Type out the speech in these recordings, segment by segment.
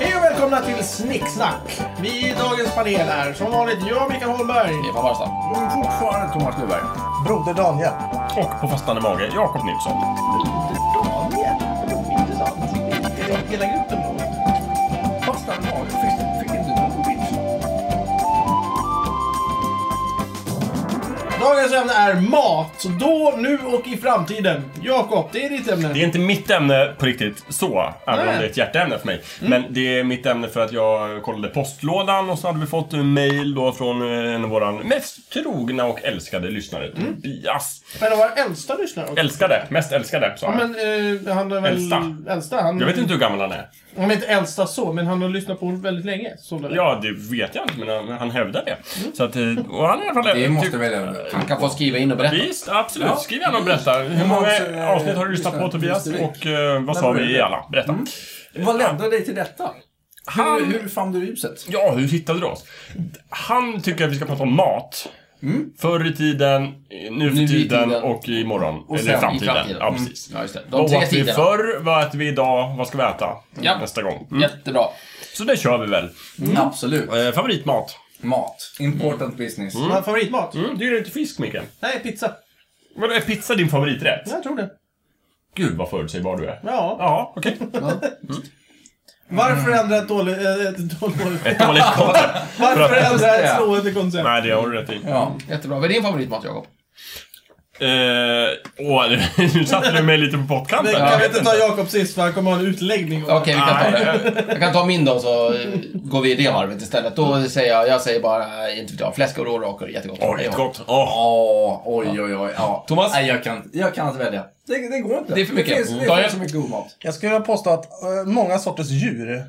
välkomna till Snicksnack. Vi i dagens panel är som vanligt jag, Mikael Holmberg. Stefan Warstam. Fortfarande Thomas Nyberg. Broder Daniel. Och på fastande mage, Jakob Nilsson. Daniel. Intressant. Det är hela gruppen då. Fast han var fick, fick inte någon bild. Dagens ämne är mat. Då, nu och i framtiden. Jakob, det är ditt ämne. Det är inte mitt ämne på riktigt så, även Nej. om det är ett hjärteämne för mig. Men det är mitt ämne för att jag kollade postlådan och så hade vi fått en mail då från eh, en av våra mest trogna och älskade lyssnare, Tobias. Men vår äldsta lyssnare också. Älskade, mest älskade sa Ja, han. men eh, han är väl... Äldsta. äldsta han, Jag vet inte hur gammal han är. han är inte äldsta så, men han har lyssnat på oss väldigt länge. Så det är. Ja, det vet jag inte, men han, han hävdar det. Så att, eh, och han är i alla fall... Det måste typ- väl... Han kan få skriva in och berätta. Visst, absolut. Ja. Skriv gärna och berätta. Hur också, många eh, avsnitt har du lyssnat lyssnat- på Tobias? historik. Och eh, vad sa När vi började i det? alla? Berätta. Vad ledde dig till detta? Han- Hur, hur fann du ljuset? Ja, hur hittade du oss? Han tycker att vi ska prata om mat. Förr i tiden, nu för Nu i tiden, tiden. och imorgon. sen eller i framtiden. framtiden. Ja, precis. Ja, just det. Och De tre att vi tiderna. förr, vad äter vi idag, vad ska vi äta Ja. nästa gång? Mm. Jättebra. Så det kör vi väl. Absolut. Eh, favoritmat? Mat. Important business. Har han favoritmat? Mm, du gillar inte fisk, Mikael. Nej, pizza. Vadå, är pizza din favoriträtt? Jag tror det. Gud, vad förutsägbar du är. Ja. Ja, okej. Mm. Varför ändra ett dåligt... Äh, ett dåligt Ett dåligt koncept. varför Bra. ändra ett Ja. slående koncept? Nej, det har du rätt i. Ja, jättebra. Vad är din favoritmat, Jakob? Mm. Eh, åh, nu satte du mig lite på Men pottkanten. kan jag vi vet inte ta Jakob sist för han kommer ha en utläggning om Okej, vi kan ta Nej. det. Jag kan ta min då, så eh, går vi i det varvet istället. Då säger jag, jag säger bara, eh, inte vet jag, fläsk och rårakor, jättegott. Åh, det är gott. Åh. Ja, oj, oj, oj. Ja. Thomas? Nej, jag kan, jag kan inte välja. Det, det går inte. Det är för mycket. Det finns, det Daniel? finns så mycket god mat. Jag skulle vilja påstå att eh, många sorters djur.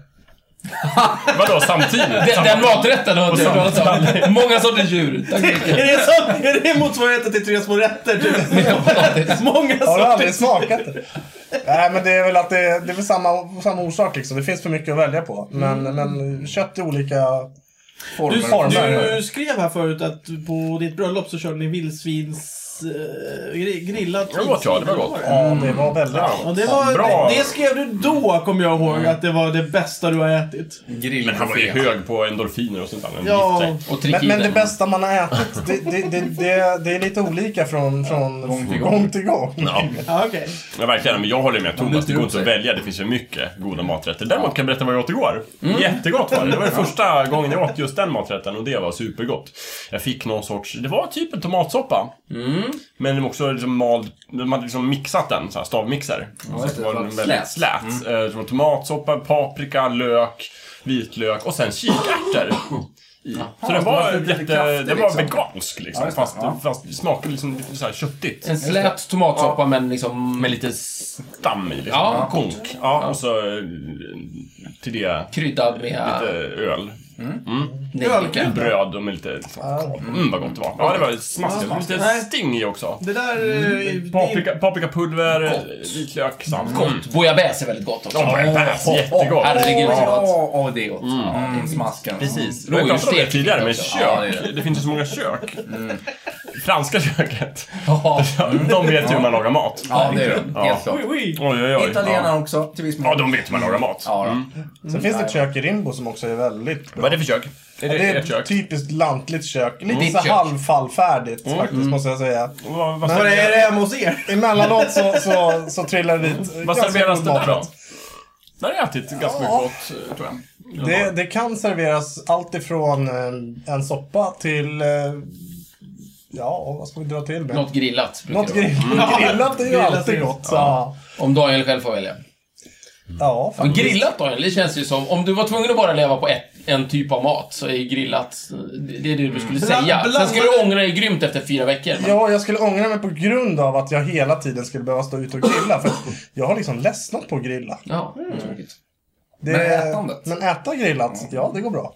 Vadå, samtidigt? Den, Samma- den maträtten har du samma- pratat om. Många sorters djur. Tack så mycket. Är det, så, är det motsvarigheten till Tre små rätter? Typ? Många Har du aldrig sorters... smakat det? Nej, men det är väl att det, det är väl samma, samma orsak liksom. Det finns för mycket att välja på. Men, men kött i olika former. Du, du skrev här förut att på ditt bröllop så körde ni vildsvins... eh, gri- grillat Det var gott, ja, det var gott. Ja, det var väldigt Ja. bra. Och det, var, Bra. Mm. det, det skrev du då, kommer jag ihåg, att det var det bästa du har ätit. Men han var ju hög på endorfiner och sånt där. Han Ja. gifte sig. Och Men, trikiner. men det bästa man har ätit, det, det, det, det, det är lite olika från, från gång till gång. Ja, Ja, okej. men verkligen. Men jag håller med Thomas. Det går inte att välja. Det finns ju mycket goda maträtter. Däremot kan jag berätta vad jag åt igår. Mm. Jättegott var det. Det var det första gången jag åt just den maträtten och det var supergott. Jag fick någon sorts... Det var typ en tomatsoppa. Mm. Men de också liksom mald... De hade liksom mixat den, så här stavmixer. så just det. det var den Slät. Mm. väldigt slät. Eh, Som tomatsoppa, paprika, lök, vitlök och sen kikärtor. I. Så den så man var, fick lite jätte, krafter, den var liksom. vegansk liksom. Ja, just det. fast, Ja. fast det smakade liksom lite så här köttigt. En slät tomatsoppa, men liksom... Med lite stam i liksom. Ja. Konk. Ja, och så eh, till det kryddad med eh, lite öl. nejlika. Bröd och med lite liksom, kakao. Mm, vad gott det var. Ja, det var smaskigt. Det var Nej. lite sting i också. Det där... eh, det- Mm, Paprika, paprikapulver, Gott. vitlök, salt. Gott. Bouillabaisse är väldigt gott också. De var bäst, jättegott. Herregud vad gott. Ja, åh, det är gott. Mm. Smasken. Precis. Vi har pratat om det Rådjursstek. tidigare, men också. kök. Ja, det är det, det. Mm. finns ju så många kök. Franska köket. Ja, De vet ju hur man lagar mat. Ja, det är det. Ja. Helt klart. Oj, oj. Oj, oj, oj. Italienarna Ja. också, till viss mån. ja, de vet hur man lagar mat. Mm. Ja, då. Sen finns det ett kök i Rimbo som också är väldigt bra. Vad är det för kök? Är Det det är ert ett kök? typiskt lantligt kök. Lite Ditt så kök. halvfallfärdigt faktiskt, måste jag säga. Vad, vad Vad är serveras- det hemma hos er? Emellanåt så, så, så trillar det dit Vad ganska serveras god det där mat. då? Där har jag ätit ganska mycket gott, eh, tror jag. Det, det kan serveras allt ifrån eh, en soppa till... eh, Ja, vad ska vi dra till med? något grillat. brukar Något det vara. grill, grillat är ju Grillat alltid är- gott. Så, ja. Om Daniel själv får välja. fan. Men grillat Daniel, det känns ju som... Om du var tvungen att bara leva på ett, en typ av mat så är ju grillat det, det är det du skulle säga. blandade- Sen skulle du ångra dig grymt efter fyra veckor. Men, Ja, jag skulle ångra mig på grund av att jag hela tiden skulle behöva stå ute och grilla. För att jag har liksom ledsnat på att grilla. ja. Det, Men ätandet? Men äta grillat, ja det går bra.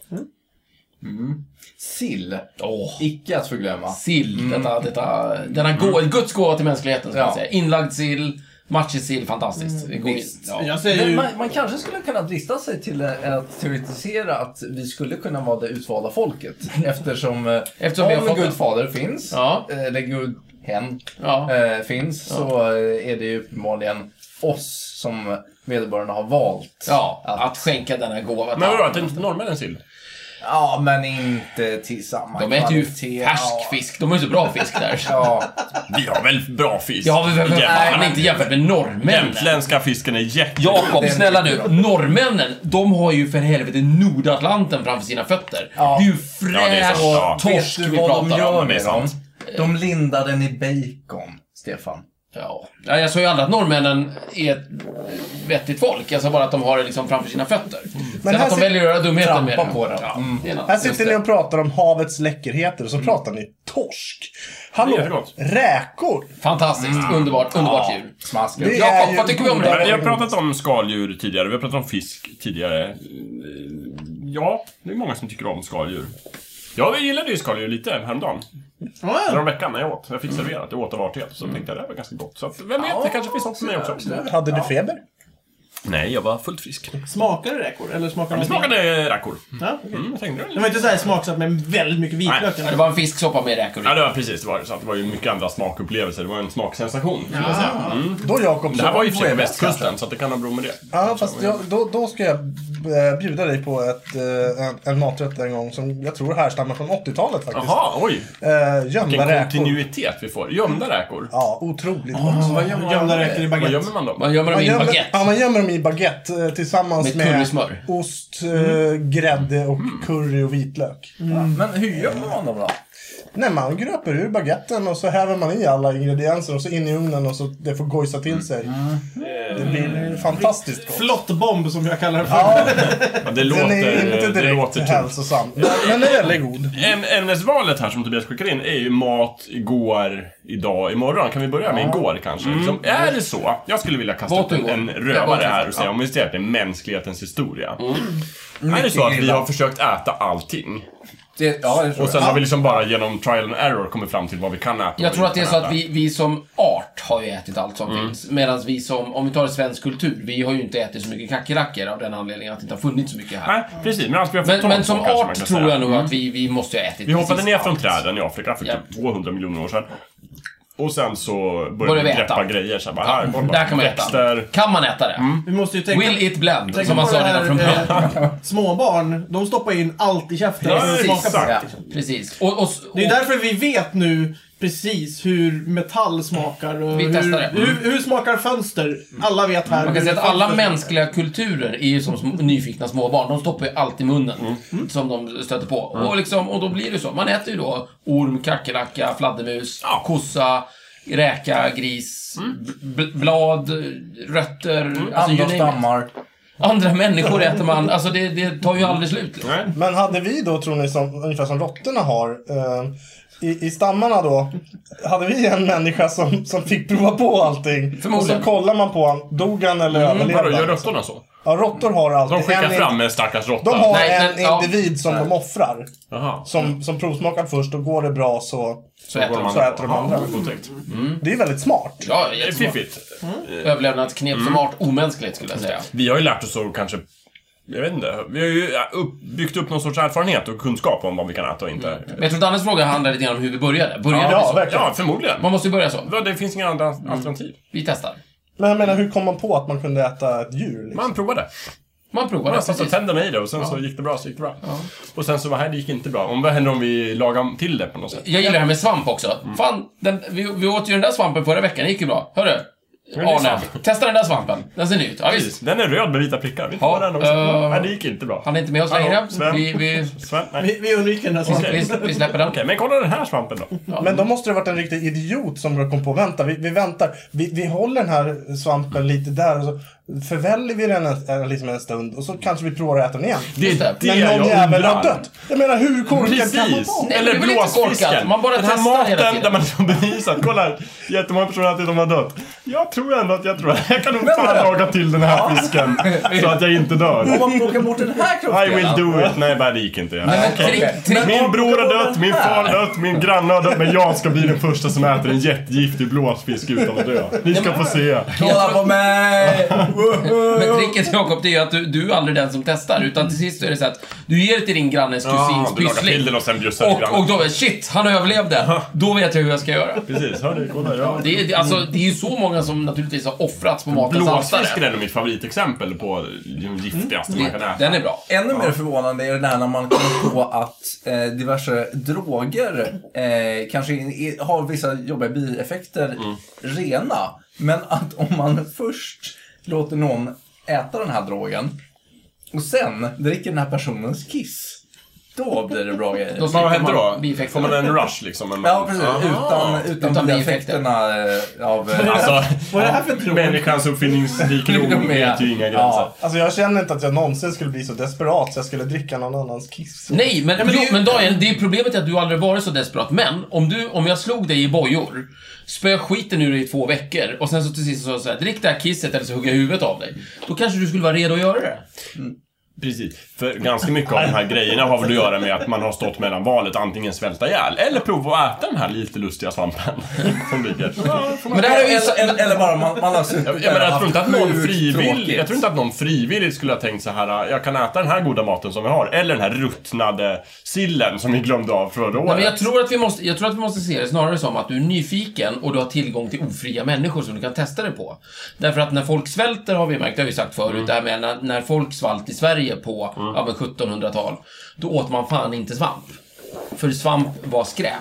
Sill. Åh. Icke att förglömma. Sill, detta, detta, denna gå, Guds gåva till mänskligheten, ska Ja. man säga. Inlagd sill, matjessill, fantastiskt. Det går in- ja. Jag säger Men ju... man, man kanske skulle kunna drista sig till eh, att teoretisera att vi skulle kunna vara det utvalda folket. Eftersom, eh, Eftersom vi om har fått Gud fader finns, Ja. eh, eller Gud hen Ja. eh, finns så eh, är det ju uppenbarligen oss som vederbörande har valt. Ja, Att- att skänka denna gåva till Men vadå, alla. att det inte norrmännen sill? Ja, men inte till samma De äter ju kvalitet. färsk fisk. De har ju så bra fisk där. Ja, Vi har väl bra fisk? Det har vi väl för fan Jävlar. inte jämfört med norrmännen. Jämtländska fisken är jätte... Jakob, Den- snälla du. Norrmännen, de har ju för helvete Nordatlanten framför sina fötter. Ja. Det är ju Ja, det är fräsch sant, ja. torsk vet vi du vad de pratar gör om. det är med dem? sant. De lindar den i bacon, Stefan. Ja. Ja, Jag sa ju aldrig att norrmännen är ett vettigt folk. Jag sa bara att de har det liksom framför sina fötter. Mm. Sen här att de sit- väljer att göra dumheter med Trampa det. på den. Ja, Mm. det är en annan- Här just sitter ni det. och pratar om havets läckerheter och så pratar ni torsk. Det är Hallå, jättegott. räkor. Underbart, Mm. underbart, underbart djur. Smaskigt. Det- är Jakob, ju vad tycker vi om Men vi det? har pratat om skaldjur tidigare, vi har pratat om fisk tidigare. Eh, Ja, det är många som tycker om skaldjur. Jag gillade ju skaldjur lite häromdagen. Ja, Häromveckan när jag åt. Jag fick serverat. Jag åt av artighet. Så tänkte jag det här var ganska gott. Så att, vem vet, det kanske finns något för mig också. Hade du feber? Nej, jag var fullt frisk. smakar det räkor? Eller smakar Det det någonting? smakade räkor. Ja, okej. Mm, jag tänkte det. Det var inte så här smaksatt med väldigt mycket vitlök. Ja, det var en fisksoppa med räkor i. Ja, det var precis. Det var, så att det var ju mycket andra smakupplevelser. Det var en smaksensation, skulle jag säga. Mm. Då Jakob. Det här så- var ju i och för sig på Då är jag bäst, västkusten, så att det kan ha bero med det. kanske. Ja, fast jag, då, då ska jag eh, bjuda dig på ett, eh, en, en maträtt en gång som jag tror härstammar från 80-talet faktiskt. Jaha, oj! Eh, gömda Vilken räkor. kontinuitet Ah. vi får. Gömda räkor. Ja, otroligt gott. Vad gör man- Gömda räkor i Vad baguette. gömmer man dem? Man gömmer dem Man i en gömmer, ja, baguette. man gömmer dem i baguette eh, tillsammans Med med, currysmör. ost, eh, Mm. grädde och curry och vitlök. Men hur gör man dem då? Nej, man gröper ur baguetten och så häver man i alla ingredienser och så in i ugnen och så det får gojsa Mm. till sig. Det blir fantastiskt gott. Flottbomb som jag kallar det för. Ja, det Den är inte låter, eh, det direkt låter tungt. hälsosam. Men den är väldigt god. Äm- Ämnesvalet här som Tobias skickar in är ju mat, igår, idag, imorgon. Kan vi börja med igår kanske? Mm. Liksom, är det så? Jag skulle vilja kasta Vad upp en, igår? en Ja, vad rövare här och säga ja. Mm. om vi ser att det är mänsklighetens historia. Är det så att vi har försökt äta allting? Det, ja, det tror Och sen jag. har vi liksom bara genom trial and error kommit fram till vad vi kan äta? och Jag vad tror vi att det är kan så att äta. vi, vi som art har ju ätit allt som Mm. finns. Medan vi som, om vi tar svensk kultur, vi har ju inte ätit så mycket kackerlackor av den anledningen att det inte har funnits så mycket här. Nej, precis. Men, alltså, vi har fått Men, tag men på, som kanske man art kan tror säga. Mm. jag nog att vi, vi måste ju ha ätit Vi hoppade precis ner från allt. träden i Afrika för typ 200 miljoner år sedan. Och sen så började Började vi vi äta. greppa grejer. Så här, bara, Ja, här, kolla, där kan man växter. Mm. äta. Kan man äta det? Vi måste ju tänka... Will it blend, tänka som man på sa det här, redan från början. eh, Småbarn, de stoppar in allt i käften. Ja, Det smakar exakt. bra. Precis. Och, och, och, Det är därför vi vet nu precis hur metall smakar och Vi hur, testar det. hur, hur smakar fönster. Alla vet här. Man kan hur säga att alla fönster- mänskliga kulturer är ju som små, nyfikna småbarn. De stoppar ju allt i munnen som de stöter på. Och, liksom, och då blir det så. Man äter ju då orm, kackerlacka, fladdermus, kossa, räka, gris, b- b- blad, rötter. Alltså, you Andra name it. stammar. Andra människor äter man. Alltså det, det tar ju aldrig slut. Liksom. Nej. Men hade vi då, tror ni, som, ungefär som råttorna har, eh, i, i stammarna då, hade vi en människa som, som fick prova på allting? Och så Förmodligen. kollar man på honom, dog han eller Mm, Vadå, överlevde gör han? råttorna så? Ja, råttor har alltid De skickar en, fram en stackars råtta? De har Nej, en men- ja. individ som de offrar. Jaha. Som, som provsmakar först och går det bra så... Så äter de. Så äter de andra. Ja, otäckt. Mm. Det är väldigt smart. Ja, Det är jättesmart. fiffigt. Överlevnadsknep som art. Omänskligt skulle jag säga. Vi har ju lärt oss att kanske... Jag vet inte. Vi har ju upp, byggt upp någon sorts erfarenhet och kunskap om vad vi kan äta och inte. Men jag tror att Dannes fråga handlar lite grann om hur vi började. Började Ja, vi så? verkligen. Ja, förmodligen. Man måste ju börja så. Ja, Det finns inga andra Mm. alternativ. Vi testar. Men jag menar, hur kom man på att man kunde äta ett djur? Liksom? Man provade. Man provar. Man det, satte precis. tänderna i det och sen så gick det bra, så gick det bra. Och sen så, här, det gick inte bra. Om, vad händer om vi lagar till det på något sätt? Jag gillar det här med svamp också. Mm. Fan, den, vi, vi åt ju den där svampen förra veckan, det gick ju bra. Hörru, är ju Arne, svamp. testa den där svampen. Den ser ny ut. Ja, visst. Den är röd med vita prickar. Vi Ja, tar den också. eh, Nej, det gick inte bra. Han är inte med oss längre. Hallå, Sven. Vi, vi, Sven, nej. Vi, vi undviker den här smaken. vi, vi släpper den. Okej, men kolla den här svampen då. Men då måste det varit en riktig idiot som kom på vänta, vi, vi väntar. Vi, vi håller den här svampen lite där och så förväljer vi den en, en, liksom en stund och så kanske vi provar att äta den igen. Det Just är det. det Men jag någon jävel har undrar. dött. Jag menar hur korkad kan man Precis! vara? Nej, Eller det är väl inte blåsfisken. korkat. Man bara den här testar hela maten tiden. där man liksom bevisar. Kolla här, jättemånga personer att de har dött. Jag tror ändå att jag tror att jag kan nog fan laga till den här fisken så att jag inte dör. Om man plockar bort den här I will do it. Nej, bara det gick inte. Men Okej. tri- tri- Min bror har dött, min far har dött, min granne har dött, men jag ska bli den första som äter en jättegiftig blåsfisk utan att dö. Ni ska få se. Kolla på mig! Men tricket Jakob, det är ju att du, du är aldrig den som testar. Utan till sist är det så att du ger det till din grannes kusins Ja, du lagar pyssling. till den och sen bjussar till Och, och grannen. då, shit, han överlevde. Då vet jag hur jag ska göra. Precis, hörni, kolla. Ja. Det är, det- alltså, det är ju så många som naturligtvis har offrats på matens Blåsfisken altare. är nog mitt favoritexempel på den giftigaste man kan äta. Det- Mm. Den är bra. Ännu mer förvånande är det där när man kommer på att eh, diverse droger eh, kanske in, i, har vissa jobbiga bieffekter Mm. rena. Men att om man först låter någon äta den här drogen och sen dricker den här personens kiss, då blir det bra grejer. Då Vad slipper händer man då? Får man bieffekterna. en rush liksom? En Ja, precis. Aha. Utan, utan, Utan bieffekterna eh, av... eh, Alltså, Vad är det här för tro? människans uppfinningsrikedom De är- vet ju inga gränser. Ja, Alltså jag känner inte att jag någonsin skulle bli så desperat så jag skulle dricka någon annans kiss. Nej, men, men det jo, är ju- men Daniel, det är problemet är att du aldrig varit så desperat. Men om, du, om jag slog dig i bojor, spöade skiten ur dig i två veckor och sen så till sist så sa jag så här, drick det här kisset eller så hugger jag huvudet av dig. Då kanske du skulle vara redo att göra det. Precis. För ganska mycket av de här grejerna har väl att göra med att man har stått mellan valet antingen svälta ihjäl eller prova att äta den här lite lustiga svampen. Som ligger. Men det här är ju så... eller, eller, eller bara man, man har suttit Jag, där jag, och menar, jag, haft tror inte att någon sjukt frivilligt, tråkigt. jag tror inte att någon frivilligt skulle ha tänkt så här. jag kan äta den här goda maten som vi har, eller den här ruttnade sillen som vi glömde av förra Nej, men året. jag, tror att vi måste, jag tror att vi måste se det snarare som att du är nyfiken och du har tillgång till ofria människor som du kan testa det på. Därför att när folk svälter har vi märkt, det har vi sagt förut, Mm. det här med när, när folk svalt i Sverige på ja, men 1700-tal, då åt man fan inte svamp. För svamp var skräp.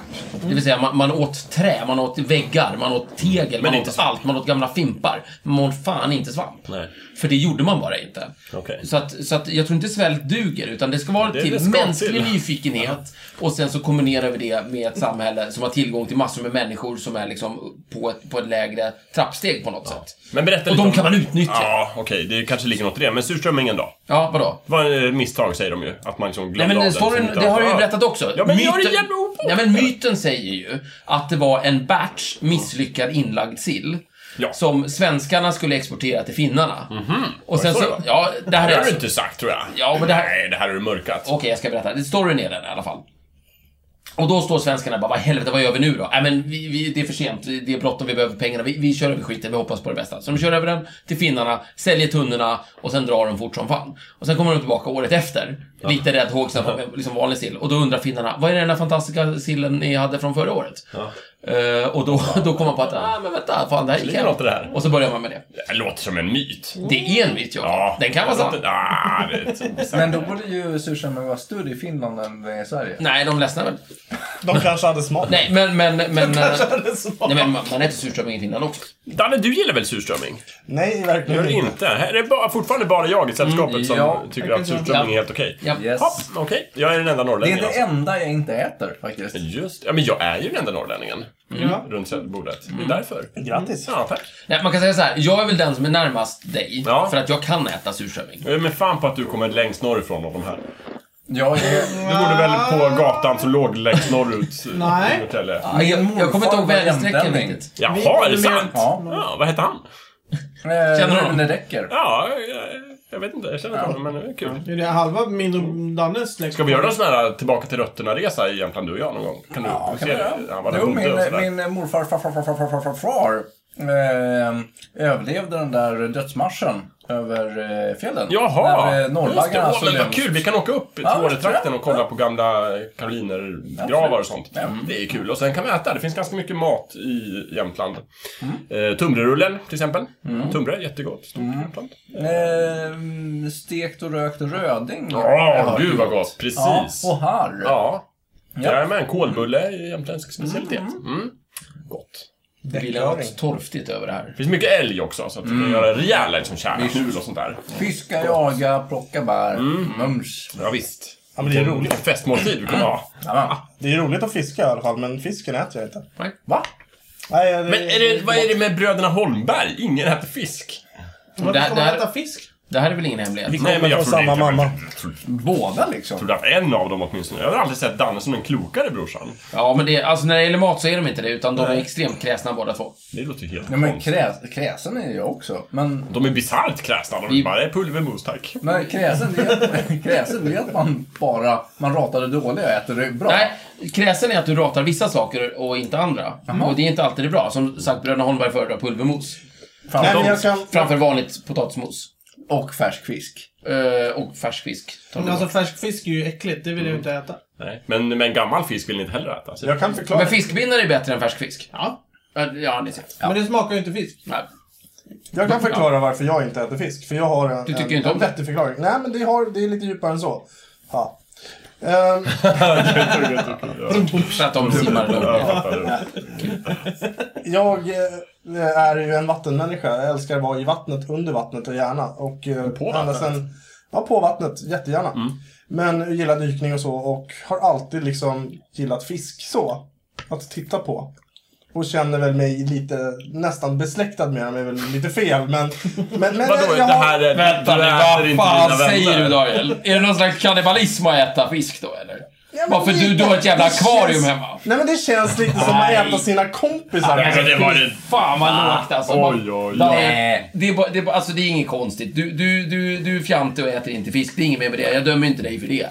Det vill säga, man, man åt trä, man åt väggar, man åt tegel, man inte åt allt, man åt gamla fimpar. Men man åt fan inte svamp. Nej. För det gjorde man bara inte. Okej. Så, att, så att jag tror inte svält duger, utan det ska vara Det är det till ska mänsklig till. nyfikenhet och sen så kombinerar vi det med ett samhälle som har tillgång till massor med människor som är liksom på ett, på ett lägre trappsteg på något sätt. Men berätta Och lite de om- kan man utnyttja. Ja, okej, det kanske ligger något i det. Men surströmmingen då? Ja, vadå? Det var ett misstag säger de ju, att man liksom glömde Nej men av den. storyn, som inte det har jag ju var- berättat också. Ja, men gör det Myten- jävla obehagligt. Nej men myten säger ju att det var en batch misslyckad inlagd sill. Ja. Som svenskarna skulle exportera till finnarna. Och sen det så, så det var? ja, det Det här har är du alltså, inte sagt tror jag. Ja, men det här- Nej, det här har du mörkat. Okej, jag ska berätta. Det- Storyn är den i alla fall. Och då står svenskarna bara, vad i helvete, vad gör vi nu då? Nej men vi, vi, det är för sent, det är bråttom, vi behöver pengarna, vi, vi kör över skiten, vi hoppas på det bästa. Så de kör över den till finnarna, säljer tunnorna och sen drar de fort som fan. Och sen kommer de tillbaka året efter, lite räddhågsen, liksom vanlig sill. Och då undrar finnarna, vad är den där fantastiska sillen ni hade från förra året? Eh, och då, då kommer man på att, ah, men vänta, fan det här gick Ligger hem." något i det här? Och så börjar man med det. Det låter som en myt. Det är en myt, ja. Den kan vara sann. Ah, det är Men då borde ju surströmmingen vara större i Finland än den är i Sverige. Nej, de ledsnar väl. De kanske hade smak. Nej, men, men, men... Eller så. Nej men man, man äter surströmming i Finland också. Danne, du gillar väl surströmming? Nej, Gör verkligen du inte. inte? Här är det bara, fortfarande bara jag i sällskapet som Mm, ja, tycker att surströmming är helt okej. Ja. Yes. Hopp, okej. Jag är den enda Det är norrlänningen det enda jag inte äter faktiskt. alltså. Just ja, men jag är ju den enda norrlänningen. Mm. Mm. Runt bordet. Det är därför. Grattis. Ja, tack. Nej, man kan säga så här. jag är väl den som är närmast dig, Ja. för att jag kan äta surströmming. Jag är med fan på att du kommer längst norrifrån av de här. Jag är... Du bodde väl på gatan som låg längst norrut? eh, i Nej. Norrtälje? Men jag, jag kommer inte ihåg morfar var väderstrecken jämtlänning. riktigt. Jaha, är det sant? Ja. Ja, vad hette han? Känner du du honom? honom? Eh, Det räcker. Ja, jag, jag vet inte. Jag känner inte honom, men det är kul. Det är halva min och Dannes släkt. Ska vi göra en sån här tillbaka till rötterna-resa i Jämtland, du och jag någon gång? Kan du Ja, kan se man det? göra. Han var där Jo, bonde och sådär. min, min morfar, far, far, far, far, far, far, far, far eh, överlevde den där dödsmarschen över eh, fjällen. Jaha! När eh, Just det. norrbaggarna Åh, såg men vad ut. kul! Vi kan åka upp till Ja, Åretrakten ja, och kolla ja. på gamla karolinergravar och sånt. Mm, Det är kul. Och sen kan vi äta. Det finns ganska mycket mat i Jämtland. Mm. Eh, tumrerullen till exempel. Tumre, jättegott. Stort Mm. i Jämtland. Eh, stekt och rökt röding. Ja, gud vad gott! Ja, Precis! och harr. Ja. Jajamän, kålbulle är jämtländsk specialitet. Mm. Gott. Det blir något torftigt över det här. Det finns mycket älg också, så att vi Mm. kan göra rejäla liksom, kärnhjul och sånt där. Fiska, jaga, plocka bär. Mm. Mums. Ja, visst. Ja, men det är Vilken- roligt. vilken festmåltid vi kommer Mm. ha. Jajamän. Det är roligt att fiska i alla fall, men fisken äter jag inte. Nej. Va? Nej, det, Men är det, vad är det med bröderna Holmberg? Ingen äter fisk. Det Varför här, ska det, man här, äta fisk? det här är väl ingen hemlighet? kommer från trodde samma inte- mamma. Jag trodde- Båda liksom. trodde att en av dem åtminstone. Jag har aldrig sett Danne som den klokare brorsan. Ja, men det, alltså när det gäller mat så är de inte det, utan de är extremt kräsna båda två. Det låter ju helt Ja, men konstigt. kräs, kräsen är jag också. Men, De är bisarrt kräsna. De Vi- är bara "Eh, pulvermos tack. men kräsen, det är, kräsen det är att man bara man ratar det dåliga och äter det bra. Nej, kräsen är att du ratar vissa saker och inte andra. Och det är inte alltid det bra. Som sagt, Bröderna Holmberg föredrar pulvermos. Nej, Framför, men jag kan... framför vanligt potatismos. Och färsk fisk. Eh, och färsk fisk. tar vi Men bort. alltså färsk fisk är ju äckligt, det vill jag ju inte äta. Nej. Men, men gammal fisk vill ni inte heller äta? Så. Jag kan förklara. Men fiskbindare är bättre än färsk fisk. Ja. Eh, Ja, ni ser. Men det smakar ju inte fisk. Nej. Jag kan förklara varför jag inte äter fisk. För jag har en, Du tycker en, inte om en det? vettig förklaring. Nej, men det, har, det är lite djupare än så. Ja. Ehm, Så att de simmar lugnt. Jag fattar det. jag eh, är ju en vattenmänniska. Jag älskar att vara i vattnet, under vattnet och gärna. Och, eh, På ända vattnet? sedan- ja, på vattnet. Jättegärna. Men gillar dykning och så och har alltid liksom gillat fisk så. Att titta på. Och känner väl mig lite nästan besläktad med dem, är väl lite fel. Men, men, men Vadå, jag det här är... Vänta du nu, äter vad inte fan dina vänner. säger du Daniel? Är det någon slags kannibalism att äta fisk då, eller? Ja, men Bara för lite- du, du har ett jävla det känns- akvarium hemma. Nej men det känns lite som att Nej. äta sina kompisar. Alltså, det var det... Fan vad lågt alltså. Oj, oj, oj. Daniel, Nej. Det är, bara, det är, bara- alltså det är inget konstigt. Du, du, du, du är fjantig och äter inte fisk. Det är inget mer med det. Jag dömer inte dig för det.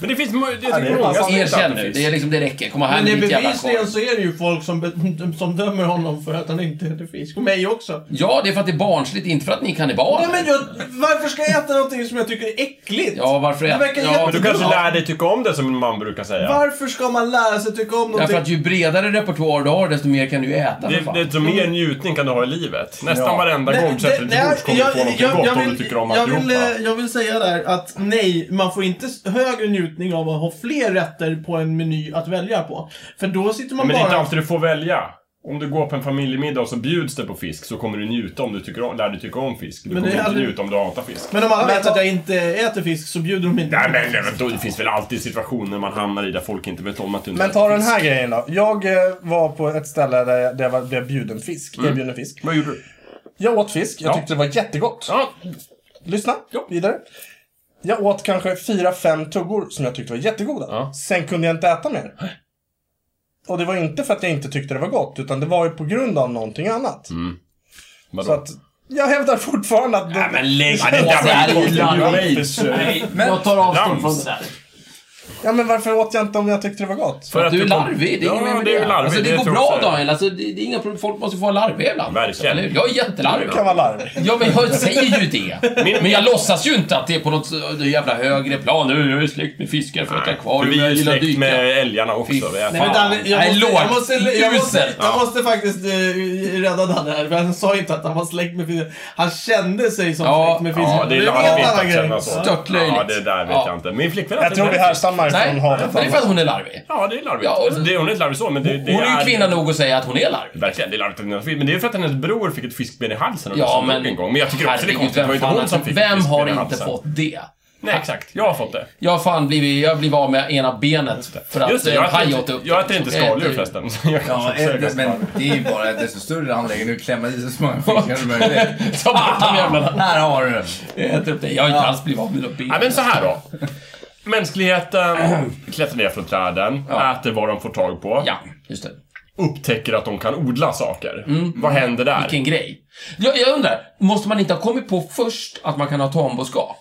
Men det finns mo- det, det, det är många massa som inte Erkänn äter nu. fisk. Det, är liksom, det räcker. Kom och Men här det med är ditt jävla akvarium. bevisligen så är det ju folk som, be- som dömer honom för att han inte äter fisk. Och mig också. Ja, det är för att det är barnsligt. Inte för att ni är kannibaler. Nej men jag, varför ska jag äta någonting som jag tycker är äckligt? Ja, varför Det äter... verkar ja, Men du kanske lär dig tycka om det som min man brukar säga. Varför ska man lära sig tycka om Därför någonting? att ju bredare repertoar du har, desto mer kan du ju äta. för Det, fan. det är så mer njutning kan du ha i livet. Nästan Ja. varenda gång du sätter dig till bords kommer du få någonting gott om du tycker om jag vill, alltihopa. eh, jag vill säga där att nej, man får inte s- högre njutning av att ha fler rätter på en meny att välja på. För då sitter man Men det är inte bara... alltid du får välja. Om du går på en familjemiddag och så bjuds det på fisk så kommer du njuta om du tycker om, lär dig tycka om fisk. Du Men det kommer är inte aldrig- njuta om du hatar fisk. Men om alla Men vet vad- att jag inte äter fisk så bjuder de inte. Nej men, nej, men då, det finns väl alltid situationer man hamnar i där folk inte vet om att du inte Men äter ta den fisk. här grejen då. Jag eh, var på ett ställe där jag, där jag var- blev bjuden fisk. Erbjuden fisk. Vad gjorde du? Jag åt fisk. Jag Mm. Ja. tyckte det var jättegott. Ja, Lyssna Ja. vidare. Jag åt kanske fyra, fem tuggor som jag tyckte var jättegoda. Ja. Sen kunde jag inte äta mer. Och det var inte för att jag inte tyckte det var gott, utan det var ju på grund av någonting annat. vadå? Så att jag hävdar fortfarande att... Nej men lägg av! Det av dig. där var ju konstigt. Du är ju Nej, jag tar avstånd från det där. Ja, men varför åt jag inte om jag tyckte det var gott? För att Du kom- är larvig, det är inget mer ja, med det. det. är ju larvig, alltså, det, det går tror jag bra också. Daniel, alltså, det, det är inga problem. Folk måste få vara larviga ibland. Verkligen. Eller hur? Jag är jättelarvig. Det kan vara larvigt. Ja, men jag säger ju det. Min- Men jag låtsas ju inte att det är på något eh, jävla högre plan. Nu är jag ju släkt med fiskar för att jag är kvar. För vi är jag ju gillar att släkt dyka. med älgarna också. Fy vi äter- Nej, men Danne, jag, Nej, måste, lågt. jag, måste, jag, måste, Uselt. jag måste faktiskt eh, rädda Danne här, för han sa inte att han var släkt med fisken. Han kände sig som Ja, släkt med fisken. ja, Ja, det är en larvigt annan att grej. känna så. Störtlöjligt. Ja, det där vet Ja. jag inte. Min flickvän Jag tror vi härstammar Nej, från men havet. det är för att hon är larvig. Ja, det är larvigt. Ja, och- Alltså, det, hon är ett larvigt så, men det, det Hon är ju kvinna nog att säga att hon är larvig. Verkligen, det är larvigt att hon är fisk. Men det är för att hennes bror fick ett fiskben i halsen och Ja, nästan dog men... en gång. Men jag tycker också det är herregud, konstigt. Det var ju vem inte fan hon som alltså, fick ett Vem fiskben har i inte halsen. fått det? Nej, exakt. Jag har fått det. Jag har fan blivit, jag blev av med ena benet för att Just det, eh, en jag haj äter åt inte, upp jag det, äter inte liksom. Jag skaldjur äter- förresten. Så jag kanske Ja, också är eh, ganska men det är ju bara desto större anläggning. Nu klämmer i sig så många fiskar som möjligt. Ta bort de jävlarna. Här har du den. Jag äter upp det. Jag har inte alls blivit av med mina ben. Nej men så här då. Mänskligheten klättrar ner från träden, Ja. äter vad de får tag på, Ja, just det. upptäcker att de kan odla saker. Vad händer där? Mm. Vilken grej. Jag, jag undrar, måste man inte ha kommit på först att man kan ha tamboskap?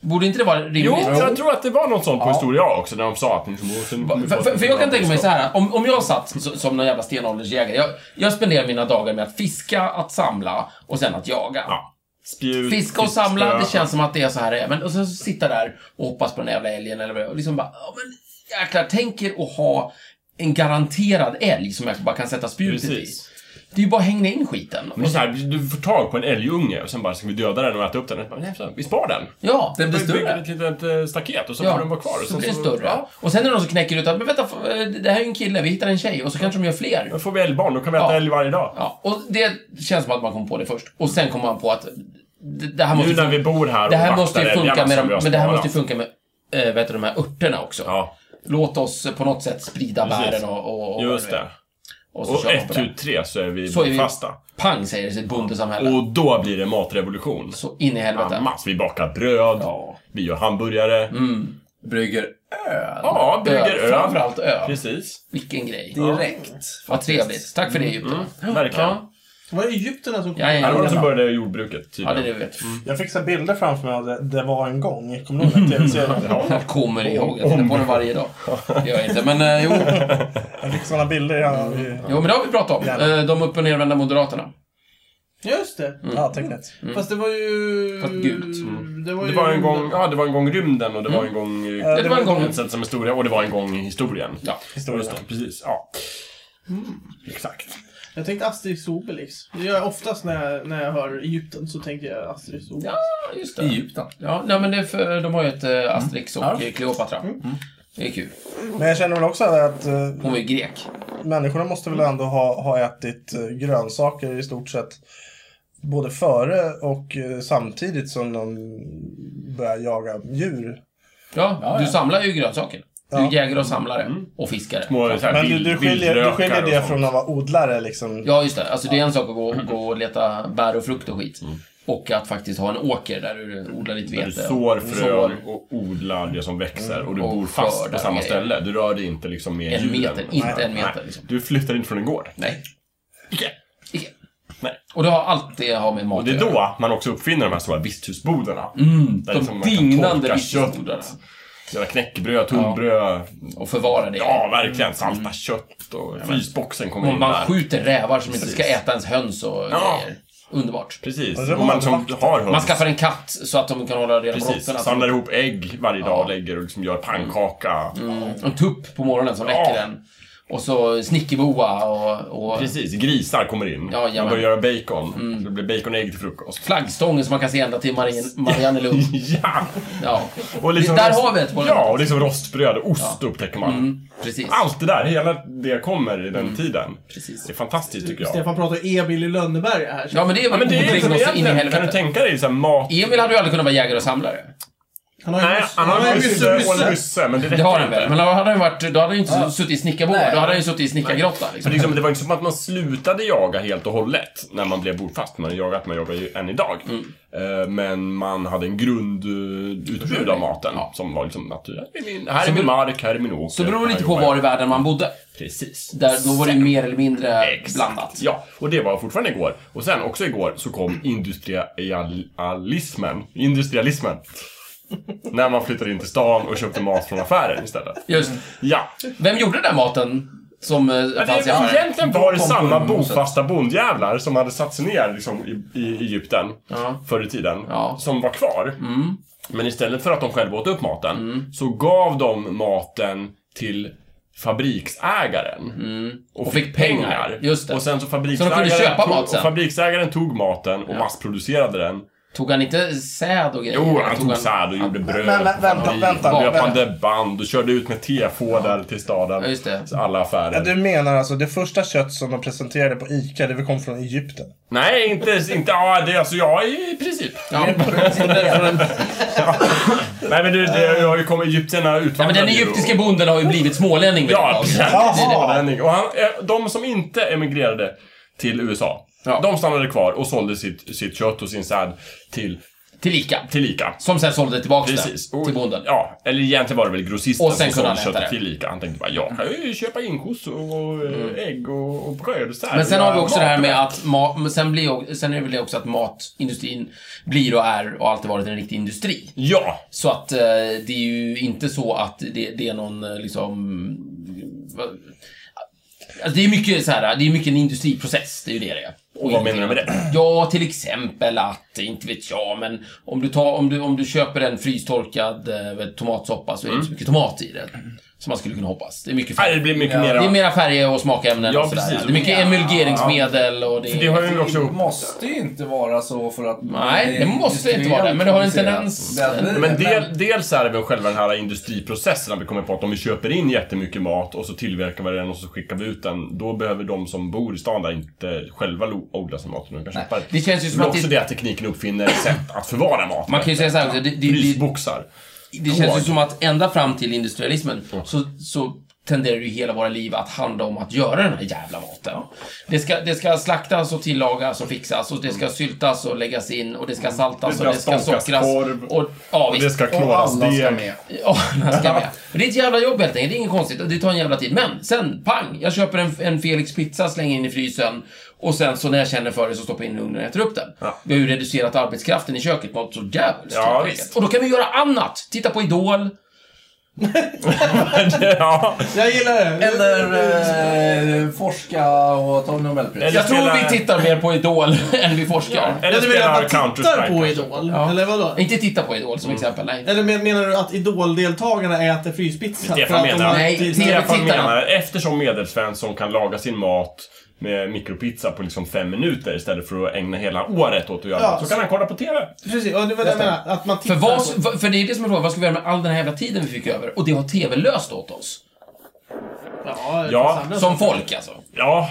Borde inte det vara rimligt? Jo, jag tror att det var något sånt på historia också, när de sa att... För, För, för, för jag kan tänka mig så här, om, om jag satt s- som någon jävla stenåldersjägare, jag, jag spenderar mina dagar med att fiska, att samla och sen att jaga. Ja. Spjut, Fiska och fiskspö. samla, det känns som att det är så här även. Och sen så sitta där och hoppas på den jävla älgen eller vad det är. Och liksom bara, ja men jäklar, tänk er att ha en garanterad älg som jag bara kan sätta spjutet Precis. i. Det är ju bara att hänga in skiten. Men det är så här, du får tag på en älgunge och sen bara ska vi döda den och äta upp den. Och bara, Nej, så, vi spar den. Ja. Den blir Vi bygger större. ett litet eh, staket och så får den vara kvar. Och så sen blir den större. Och sen är det någon som knäcker ut att, men vänta, f- eh, det här är ju en kille, vi hittar en tjej. Och så kanske de gör fler. Då får vi älgbarn, då kan vi äta Ja. älg varje dag. Ja, och det känns som att man kom på det först. Och sen kom man på att det, det här måste Nu när vi ju bor här och det här vaktar måste ju älgarna funka som med de, vi har men det här sparat. måste ju funka med äh, vet du, de här örterna också. Ja, Låt oss på något sätt sprida Precis. bären och, och, och just det. Och så Och kör man ett, på tu, det. tre så är vi Så är vi- fasta. Pang säger det sitt bondesamhälle. Och då blir det matrevolution. Så in i helvete. Mass, vi bakar bröd, Ja. Mm. vi gör hamburgare. Brygger Ja, bygger Ö, öl. framförallt öl. Precis. Vilken grej. direkt. Vad trevligt. Tack för det Egypten. Mm. Verkligen. Ja. Var det egyptierna som kom? Ja, Ja, ja, det var Mm. de ja. som började jordbruket ja, det är tydligen. det vi vet. Jag fick så här bilder framför mig av det, det var en gång. Kommer du ihåg den tv-serien? Jag kommer ihåg. Jag tittar på den varje dag. Det gör jag inte, men eh, jo. Jag fick sådana bilder. Jag, Mm. Jo, men det har vi pratat om. Eh, De upp och nervända moderaterna. Just det. Mm, Ja, tecknet. Fast det var ju... Fast gult. Det var, Det ju var en gång, ja, det var en gång rymden och det var Mm. en gång... eh, Det var en gång... Konceptet som historia och det var en gång i historien. Ja. historien. Just det, precis. Ja. Exakt. Jag tänkte Asterix och Obelix. Det gör jag oftast när jag, när jag hör Egypten så tänker jag Asterix och Obelix. Ja, just det. Egypten. Ja, nej, men det är för, de har ju ett Mm. eh, Asterix och eh, Kleopatra. Det är kul. Men jag känner väl också att eh, Hon var ju grek. människorna måste väl ändå ha, ha ätit eh, grönsaker i stort sett både före och eh, samtidigt som de börjar jaga djur. Ja, Ja, du ja. samlar ju grönsaker. Du Ja. är jägare och samlare. Och fiskare. Mm. Små, så här, Men du, vild- du, skiljer, du skiljer vildrökar det och sånt. från att vara odlare liksom. Ja, just det. Alltså, det är en sak att gå, gå och leta bär och frukt och skit. Och att faktiskt ha en åker där du odlar lite Där Mm. Du vete. sår sår. Mm. frön och odlar det som växer och du Och bor fast skördar på samma grejer. ställe. Du rör dig inte liksom med En djuren. meter, inte en meter. Nej. Liksom. Du flyttar inte från en gård. Nej. Icke. Icke. Nej. Och det har alltid har med mat Och det är att göra. då man också uppfinner de här stora visthusbodarna. Mm, Där de liksom man kan dignande torka visselbordarna. Göra knäckbröd, tunnbröd. Och förvara det. Ja, verkligen. Salta Mm. kött och frysboxen kommer Man, in man där. skjuter rävar som inte ska Precis. äta ens höns och Ja. grejer. Underbart. Precis. Och så Och har man man som vakter. har höns. Man skaffar en katt så att de kan hålla reda på Precis. råttorna. Samlar ihop ägg varje dag och lägger och liksom gör pannkaka. Mm, En tupp på morgonen som Ja. väcker den. Och så snickerboa och, och Precis, grisar kommer in. Ja, Mm. jajamän. man börjar göra bacon. Så det blir baconägg till frukost. flaggstången som man kan se ända till Marien, Mariannelund. Ja! Ja. Och liksom Det- där rost- har vi ett på den. Ja, och liksom rostbröd och ost upptäcker man. Mm, precis. Allt det där, hela det kommer i den tiden. Precis. Det är fantastiskt tycker jag. Stefan pratar ju Emil i Lönneberga här. Ja, men det är Ja, väl men det är liksom odling och så in i egentligen, kan du helvete. tänka dig så här mat... Emil hade ju aldrig kunnat vara jägare och samlare. Han har ju Nej, möss- han har en mössa- musse och en mössa. musse, men det Det räcker har han inte. väl. Men då hade han ju varit, då hade han ju inte Ja. suttit i snickarboa. Nej. Då hade han ju suttit i snickargrotta. Så Liksom. liksom, det var inte som att man slutade jaga helt och hållet när man blev bofast. Man har jagat, man jagar ju än idag. Mm. Eh, Men man hade en grundutbud av maten som var liksom att här är min, här är Så min beror- mark, här är min åker. Så det beror här lite på jobbar var jag. i världen man bodde. Precis. Där, då var det ju mer eller mindre Exakt. blandat. Ja, och det var fortfarande igår. Och sen också igår så kom industrialismen. Industrialismen. när man flyttade in till stan och köpte mat från affären istället. Just. Ja, Vem gjorde den där maten som eh, Men fanns i det är affären? egentligen var det Tom samma Boom, så att- bofasta bondjävlar som hade satt sig ner liksom, i, i Egypten Ja. förr i tiden, Ja. som var kvar. Mm. Men istället för att de själva åt upp maten, så gav de maten till fabriksägaren. Mm. Och fick pengar. Just det. Och sen så Så de fabriksägaren, kunde köpa tog, mat sen. Och fabriksägaren tog maten och massproducerade den. Tog han inte säd och grejer? Jo, Eller han tog säd och gjorde bröd. Men, men vänta, och vänta, Löpande band och körde ut med tefådel till Ja, staden. just det. Så alla affärer. Ja, du menar alltså det första kött som de presenterade på ICA, det väl kom från Egypten? Nej, inte... inte ja, det, alltså jag i princip. Ja. Nej, men du, det har ju kommit... Egyptierna Nej, men utvandrade den ju- egyptiske bonden har ju blivit smålänning vid det Ja, laget. precis. Jaha! Smålänning. Och han, eh, de som inte emigrerade till USA, Ja. de stannade kvar och sålde sitt, sitt kött och sin säd till, Till Ica. till Ica. Som sen sålde tillbaka Precis. det till bonden. Ja, eller egentligen var det väl grossisten Och sen kunde han som äta köttet det. till Ica. Han tänkte bara, jag kan ju köpa in kossor och eh, ägg och, och bröd och så här. Mm. Men sen Och har vi göra också det här mat med att ma- men sen, blir, sen är det väl det också att matindustrin blir och är och alltid varit en riktig industri. Ja, Så att eh, det är ju inte så att det, det är någon eh, liksom... vad- Alltså, det är mycket så här, det är mycket en industriprocess, det är ju det det är. och vad menar du med det? Ja, till exempel att, inte vet jag, men om du, tar, om du, om du köper en frystorkad eh, tomatsoppa så är det inte så mycket tomat i den. Som man skulle kunna hoppas. Det är mycket Mm. Nej, det färg. blir mycket Ja, mera... Det är mera färger och smakämnen Ja, och sådär. precis. Det är mycket Ja. emulgeringsmedel och det, Det har ju Det också... måste ju inte vara så för att... Nej, det måste inte vara det, men det har en tendens- Den- Men del, dels är det väl själva den här industriprocessen att vi kommer på att om vi köper in jättemycket mat och så tillverkar vi den och så skickar vi ut den. Då behöver de som bor i stan där inte själva lo- odla sin mat. utan De kan köpa Det känns ju som Men att också det- det att tekniken uppfinner sätt att förvara mat. Man kan ju säga så här också, det, det, det, Frysboxar. det känns ju som att ända fram till industrialismen så, så tenderar ju hela våra liv att handla om att göra den här jävla maten. Det ska, det ska slaktas och tillagas och fixas och det ska syltas och läggas in och det ska saltas Mm. Det och det ska ska stånkas sockras. korv. Och, ja, Och visst. det ska Och knorras alla ska deg. med. Ja, den ska med. Men det är ett jävla jobb helt enkelt. Det är inget konstigt. Det tar en jävla tid. Men sen, pang! Jag köper en, en Felix pizza, slänger in i frysen. Och sen så när jag känner för det så stoppar jag in i ugnen och äter upp den. Ja. Vi har ju reducerat arbetskraften i köket något så jävligt Ja, helt enkelt. visst. Och då kan vi göra annat. Titta på Idol. ja. Jag gillar det. Eller eh, forska och ta Nobelpris. Eller Jag tror spela- vi tittar mer på Idol än vi forskar. Eller Eller du menar spelar att man tittar Counter-Strike. på kanske. Idol? Ja. Eller vadå? Inte titta på Idol Mm. som exempel, nej. Eller men- menar du att Idol-deltagarna äter fryspizza? Stefan menar- Nej, alltid- Stefan- Stefan Tittarna. menar, eftersom medelsvensson kan laga sin mat med mikropizza på liksom fem minuter istället för att ägna hela året åt att göra Ja, mat, så kan han kolla på TV. Precis, och det var det jag menar. Att man För, tittar Mm. vad, på... vad- för det är det som är frågan, vad ska vi göra med all den här jävla tiden vi fick över? Och det har TV löst åt oss. Ja, Ja, samlas. Som folk Mm. alltså. Ja,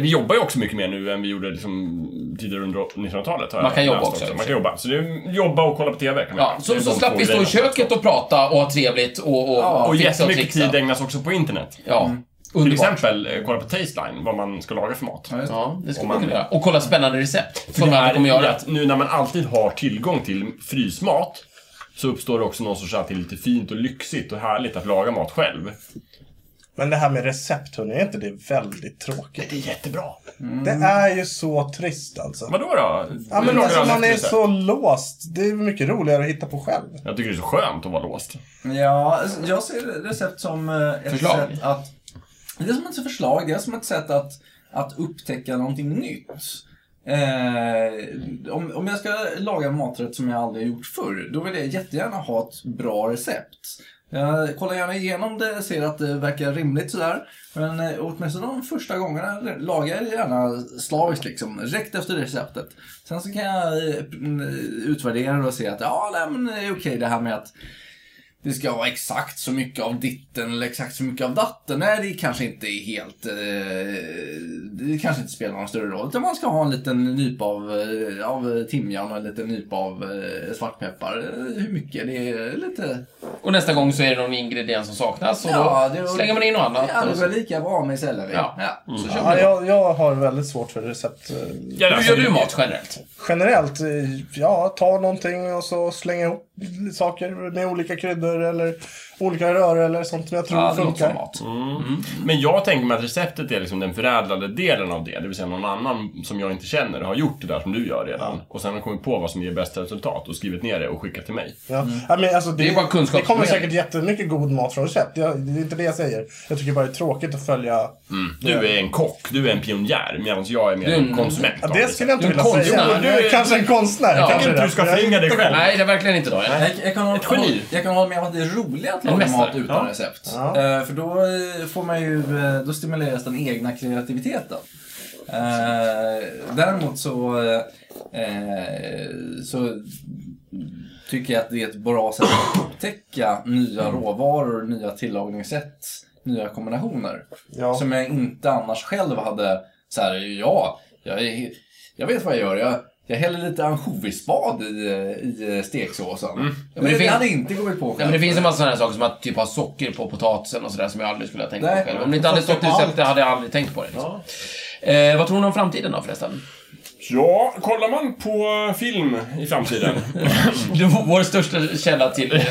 vi jobbar ju också mycket mer nu än vi gjorde liksom tidigare under 1900-talet. har jag Man kan jobba läst också, Man kan jobba. Så det är jobba och kolla på TV kan man Ja, göra. Det så, är så de slapp två vi stå i grejerna. köket och prata och ha trevligt och, och, Och fixa och jättemycket trixa. tid ägnas också på internet. Ja, Till underbart. exempel eh, kolla på Tasteline, vad man ska laga för mat. Ja, det ska Om man man- kunna göra. Och kolla spännande recept. Som det man här kommer i göra. att nu när man alltid har tillgång till frysmat så uppstår det också någon sorts alltid lite fint och lyxigt och härligt att laga mat själv. Men det här med recept, hörni, är inte det väldigt tråkigt? Det är jättebra. Mm. Det är ju så trist alltså. Vadå då? Ja, Du men lagar alltså alla man är efterrätter. så låst. Det är mycket roligare att hitta på själv. Jag tycker det är så skönt att vara låst. Ja, alltså, jag ser recept som eh, ett Förslag. sätt att... Det är som ett förslag, det är som ett sätt att, att upptäcka någonting nytt. Eh, om, om jag ska laga en maträtt som jag aldrig har gjort förr, då vill jag jättegärna ha ett bra recept. Jag kollar gärna igenom det, ser att det verkar rimligt sådär. Men eh, åtminstone de första gångerna lagar jag gärna slaviskt liksom, direkt efter receptet. Sen så kan jag eh, utvärdera det och se att ja, nej, men det är okej det här med att det ska vara exakt så mycket av ditten eller exakt så mycket av datten. Nej, det kanske inte är helt... Eh, det kanske inte spelar någon större roll. Utan man ska ha en liten nypa av, eh, av timjan och en liten nypa av eh, svartpeppar. Eh, Hur mycket? Det är lite... Och nästa gång så är det någon ingrediens som saknas och Ja, då det- slänger man in något annat. Ja, det och är så- väl lika bra med selleri. Ja. Så kör vi Ja, Mm. det. jag, jag har väldigt svårt för recept. eh, Ja, Hur alltså, gör du mat generellt? Generellt, eh, ja, ta någonting och så slänga ihop saker med olika kryddor eller olika röror eller sånt som jag tror Ja, det låter som funkar. mat. Men jag tänker mig att receptet är liksom den förädlade delen av det. Det vill säga någon annan som jag inte känner har gjort det där som du gör redan. Och sen har kommit på vad som ger bäst resultat och skrivit ner det och skickat till mig. Ja. Ja, men alltså, det, Mm. Det är bara kunskap det kommer som är. säkert jättemycket god mat från recept. Jag, det är inte det jag säger. Jag tycker bara det är tråkigt att följa. Du är en kock, du är en pionjär, medan jag är mer Du är en- en konsument. Ja, av det recept. skulle jag inte Mm. Du är vilja en konstnär. säga. Du är- Kanske en konstnär. Ja. Jag kanske tycker inte det. du ska förringa dig själv. Nej, det är verkligen inte då. Jag, jag, kan hålla, Ett geni. jag kan hålla med om att det är roligt att En laga mästare. mat utan Ja. recept. Ja. Eh, för då eh, får man ju, eh, då stimuleras den egna kreativiteten. Eh, däremot så, eh, eh, så tycker jag att det är ett bra sätt att upptäcka nya råvaror, nya tillagningssätt, nya kombinationer. Ja. Som jag inte annars själv hade så här, ja, jag, är- jag vet vad jag gör. Jag, jag häller lite ansjovisspad i, i steksåsen. Ja, men det det, finns- hade jag inte kommit på Ja, men det finns en massa sådana här saker som att typ ha socker på potatisen och sådär som jag aldrig skulle ha tänkt Nej. på själv. Om det inte hade stått i receptet hade jag aldrig tänkt på det. Liksom. Eh, vad tror ni om framtiden då förresten? Mm. Ja, kollar man på film i framtiden? Du, vår största källa till, eh,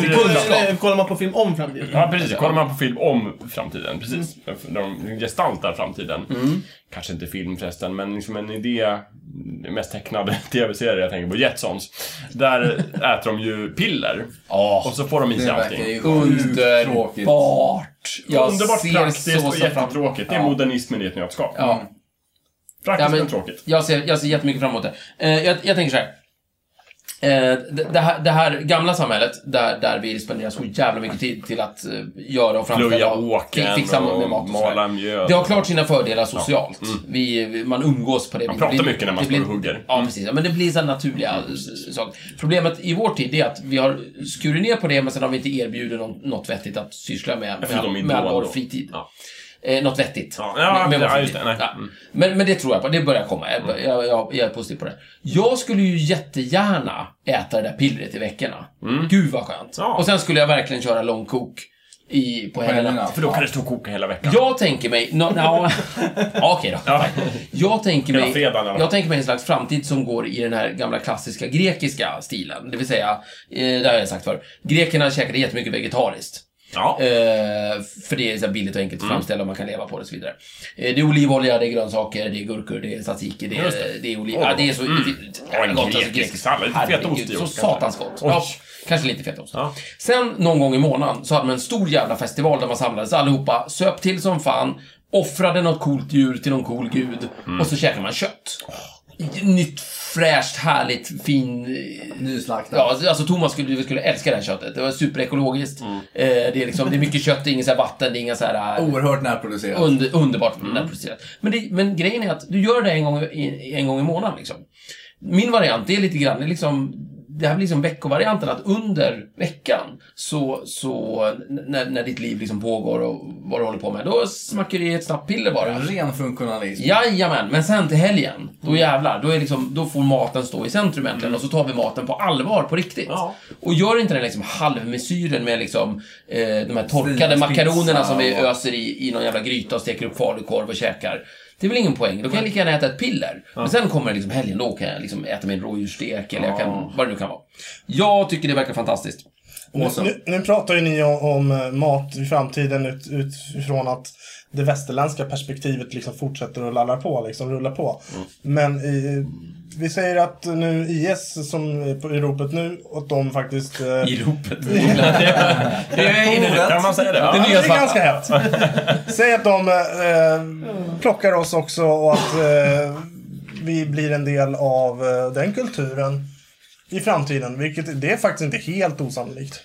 till kunskap. Kollar- Kollar man på film om framtiden? ja, precis. Kollar man på film om framtiden, precis. Där de gestaltar framtiden. Kanske inte film förresten, men liksom en idé. den Mest tecknade tv-serie jag tänker på, Jetsons. Där äter de ju piller. Ja, Och så får de i sig Det verkar allting. ju sjukt tråkigt. underbart! Jag Underbart ser praktiskt så och så fram- jättetråkigt. Det är Ja. modernismen i ett nötskal. Ja. Praktiskt Ja, men- men tråkigt. Jag ser, jag ser jättemycket fram emot det. Eh, jag, jag tänker så här. Eh, det, det, här, det här gamla samhället, där, där vi spenderar så jävla mycket tid till att eh, göra och framställa Plöja och fi- åkern fixa med och mat och så mala där. mjöl. Det har klart sina fördelar socialt. Vi, vi- man umgås på det Man pratar mycket när man står och hugger. Mm. Ja, precis. Ja, Men det blir så här naturliga s- saker. Problemet i vår tid är att vi har skurit ner på det, men sen har vi inte erbjudit någon, något vettigt att syssla med, Förutom med, Idol med all vår då. fritid. Ja. Eh, något vettigt. Ja, ja, Med- med ja, vår just det, fritid. nej. Ja. Mm. Men, men det tror jag på. Det börjar komma. Jag, jag, jag, jag är positiv på det. Jag skulle ju jättegärna äta det där pillret i veckorna. Gud vad skönt. Mm. Ja. Och sen skulle jag verkligen köra långkok i, på helgerna. helgerna. För då kan det stå och koka hela veckan. Jag tänker mig... No, no, Okej då. Ja. Jag tänker, Hela mig, fredagen, eller? jag tänker mig en slags framtid som går i den här gamla klassiska grekiska stilen. Det vill säga, eh, det har jag sagt förr, grekerna käkade jättemycket vegetariskt. Ja. Mm. Eh, för det är så här billigt och enkelt att framställa och man kan leva på det och så vidare. Eh, det är olivolja, det är grönsaker, det är gurkor, det är tzatziki, det är, Just det. det är oliv... Åh, ja, det är så... mm. det finns- Och en gott, alltså, grekisk grekisk- sallad, lite Herregud, fetaost i också, kanske. Så satans gott. Oj. Ja, kanske lite fetaost. Ja. Sen någon gång i månaden så hade man en stor jävla festival där man samlades allihopa, söp till som fan, offrade något coolt djur till någon cool gud Mm. och så käkade man kött. Nytt, fräscht, härligt, fin... eh, Nyslaktad. Ja, alltså Thomas skulle, skulle älska det här köttet. Det var superekologiskt. Eh, det, är liksom, det är mycket kött, det är inget så här vatten, det är inga så här... eh, Oerhört närproducerat. Under, underbart närproducerat. Men, det, men grejen är att du gör det en gång i, en gång i månaden. Liksom. Min variant är lite grann, det, är liksom, det här blir liksom veckovarianten, att under veckan så, så n- när, när ditt liv liksom pågår och vad du håller på med, då smackar du i ett snabbt piller bara. Ren funktionalism. Jajamän, men sen till helgen, då jävlar, då, är liksom, då får maten stå i centrum äntligen och så tar vi maten på allvar på riktigt. Och gör inte den liksom halvmesyren med liksom, eh, de här torkade Svinspizza makaronerna som vi och- öser i, i någon jävla gryta och steker upp falukorv och käkar. Det är väl ingen poäng, då kan jag lika gärna äta ett piller. Men sen kommer liksom helgen, då kan jag liksom äta min rådjursstek eller jag kan, vad det nu kan vara. Jag tycker det verkar fantastiskt. Nu, nu, nu pratar ju ni om, om eh, mat i framtiden ut, utifrån att det västerländska perspektivet liksom fortsätter att lalla på, liksom rulla på. Men i, vi säger att nu IS som är på, i ropet nu, att de faktiskt... eh, I ropet. det är inne nu. Kan man säga det? Det Ja. är Ja, nya det är svarta. ganska hett. Säg att de eh, plockar oss också och att eh, vi blir en del av eh, den kulturen i framtiden. Vilket det är faktiskt inte helt osannolikt.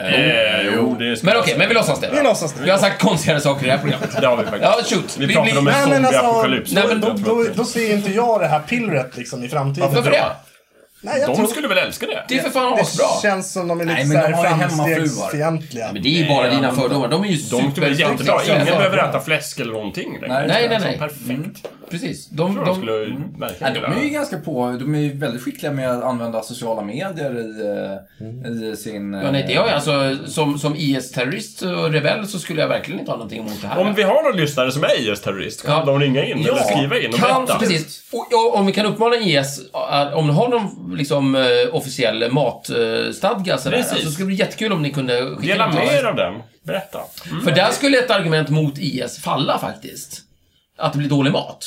Eh, jo, det ska Mm. Men okej, men vi låtsas det. Vi låtsas Vi det. har sagt konstigare saker i det här programmet. Det har vi faktiskt. Ja, shoot. Vi Vi pratar blir- om en Nej, men alltså- zombieapokalyps. Nej, men Då, då, då ser inte jag det här pillret liksom i framtiden. Varför det? Nej, jag De tror skulle väl älska det? Det är för fan asbra. det känns som de är lite Nej, men de har ju såhär hemmafruar. framstegsfientliga. Men det är ju bara dina fördomar. De är ju De skulle väl jättebra. sexuella Ingen behöver fördomar. äta fläsk eller någonting längre. Nej, Nej, nej, Så nej. Perfekt. Precis. De, Mm. Jag tror de de, skulle märka Ja, de är det. ju ganska på, de är ju väldigt skickliga med att använda sociala medier i, eh, i sin... ja, nej, det har jag. Alltså, som, som IS-terrorist och rebell så skulle jag verkligen inte ha någonting emot det här. Om vi har någon lyssnare som är IS-terrorist, kan Ja. de ringa in Ja, eller skriva in och kan, berätta? precis. Och, ja, om vi kan uppmana IS, eh, om du har någon liksom, eh, officiell matstadga sådär, Precis. alltså, så skulle det bli jättekul om ni kunde skicka Dela in till med oss. er av den. Berätta. För där skulle ett argument mot IS falla faktiskt. Att det blir dålig mat.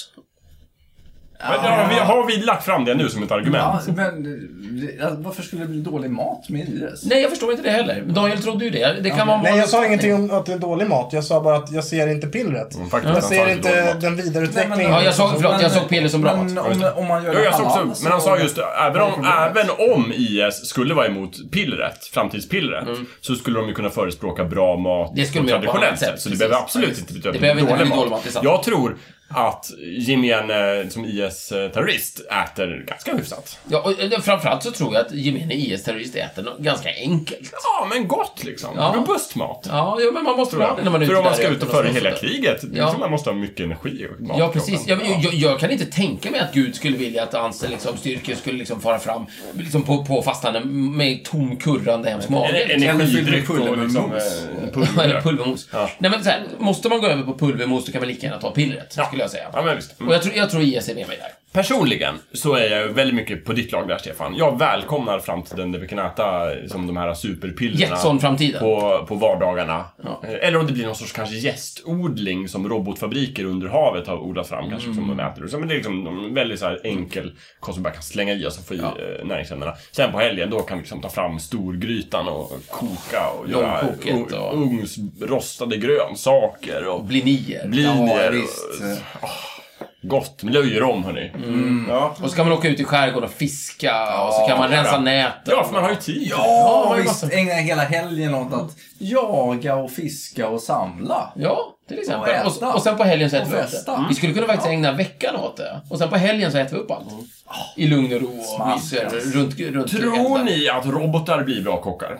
Men, ja, vi, har vi lagt fram det nu som ett Ja, argument? men eh, alltså, varför skulle det bli dålig mat med IS? Nej, jag förstår inte det heller. Daniel trodde ju det. Det kan vara Nej, jag sa ingenting om att det är dålig mat. Jag sa bara att jag ser inte pillret. Mm, faktiskt, Jag han ser sa dålig inte mat. den vidareutvecklingen. Ja, jag såg- förlåt, jag såg Pelle som bra Men om, om man gör Jo, jag det såg halal, också, men han så- sa just det, även om, det är även om IS skulle vara emot pillret, framtidspillret, så skulle de ju kunna förespråka bra mat Mm. Det skulle på de göra på traditionellt annat sätt, sätt. Så det precis. behöver Ja, absolut visst. inte Det betyda behöver inte dålig bli mat. dålig mat, det är sant. Jag tror att gemene som IS-terrorist äter ganska hyfsat. Ja, och eh, framförallt så tror jag att gemene IS-terrorist äter något ganska enkelt. Ja, men gott liksom. Ja. Robust mat. Ja, ja, men man måste Tror ha jag. det när man är För ute om man där ska i ut och öknen föra sånt hela där. kriget, liksom. det är Ja. som man måste ha mycket energi och mat i Ja, kroppen. precis. Jag, jag, jag kan inte tänka mig att Gud skulle vilja att hans liksom, styrkor skulle liksom fara fram liksom på, på fastande med tom, kurrande hemsk mage. En- Liksom. Energidryck Eller och med liksom... mos. eh, Eller pulver. pulvermos. Nej, men så här, måste man gå över på pulvermos, då kan man lika gärna ta pillret, Ja. skulle jag säga. Ja, men visst. Mm. Och jag tror, jag tror IS är med mig där. Personligen så är jag väldigt mycket på ditt lag där, Stefan. Jag välkomnar framtiden där vi kan äta eh, som de här superpillerna Jetson-framtiden. på, på vardagarna. Ja. Eh, Eller om det blir någon sorts kanske gästodling som robotfabriker under havet har odlat fram, kanske Mm. som de äter. Så, men det är liksom en väldigt så här enkel kost som bara kan slänga i oss och få i ja. näringsämnena. Sen på helgen, då kan vi liksom ta fram storgrytan och koka och göra Långkoket u- och- ugnsrostade grönsaker och Blinier. blinier. Ja, och- visst. Gott, löjrom hörni. Mm. Mm. Ja. Och så kan man åka ut i skärgården och fiska och så kan man rensa näten. Ja, för man har ju tid. Ja, Ja, det är visst. massa- Ägna hela helgen åt att jaga och fiska och samla. Ja, till Och exempel. äta. Och, och, sen på helgen så Och äter vi upp festa. det. Vi skulle kunna faktiskt ägna veckan åt det. Och sen på helgen så äter vi upp allt. Mm. Ah. I lugn och ro och Smart. myser runt, runt Tror elden. ni att robotar blir bra kockar?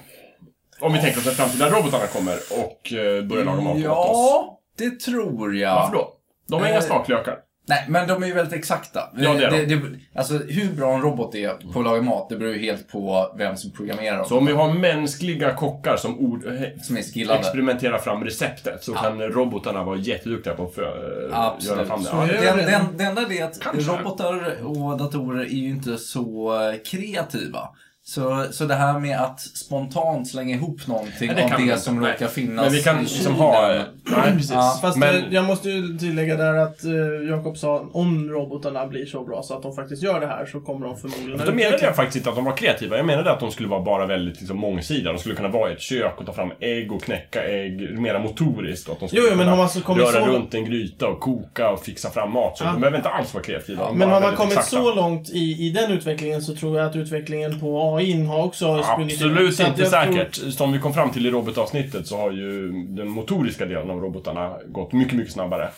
Om vi tänker oss en framtid där robotarna kommer och eh, börjar laga mat åt oss. Ja, det tror jag. Varför då? De är inga Eh, smaklökar. Nej, men de är ju väldigt exakta. Ja, det är de. det, Alltså, hur bra en robot är på att laga mat, det beror ju helt på vem som programmerar dem. Så om vi har mänskliga kockar som ord, eh, Som är skillade. experimenterar fram receptet så kan robotarna vara jätteduktiga på att fö- eh, Absolut. göra fram det. är Ja. det. Den, den, det enda är att Kanske. robotar och datorer är ju inte så eh, kreativa. Så, så det här med att spontant slänga ihop någonting Nej, det av kan vi det inte. som Nej. råkar finnas Men vi kan i liksom kylen. ha... Nej, precis. Ja. Fast Men- eh, jag måste ju tillägga där att eh, Jakob sa om robotarna blir så bra så att de faktiskt gör det här så kommer de förmodligen Då menade jag faktiskt inte att de var kreativa. Jag menade att de skulle vara bara väldigt liksom, mångsidiga. De skulle kunna vara i ett kök och ta fram ägg och knäcka ägg. Mera motoriskt. Och att de skulle Jo, jo, men kunna har man så kommit röra så- runt en gryta och koka och fixa fram mat. Så Ja. de behöver inte alls vara kreativa. Men bara har man väldigt kommit exakta. så långt i, i den utvecklingen så tror jag att utvecklingen på AI har också sprungit Absolut Så att inte jag tror- säkert. Som vi kom fram till i robotavsnittet så har ju den motoriska delen av robotarna gått mycket, mycket snabbare.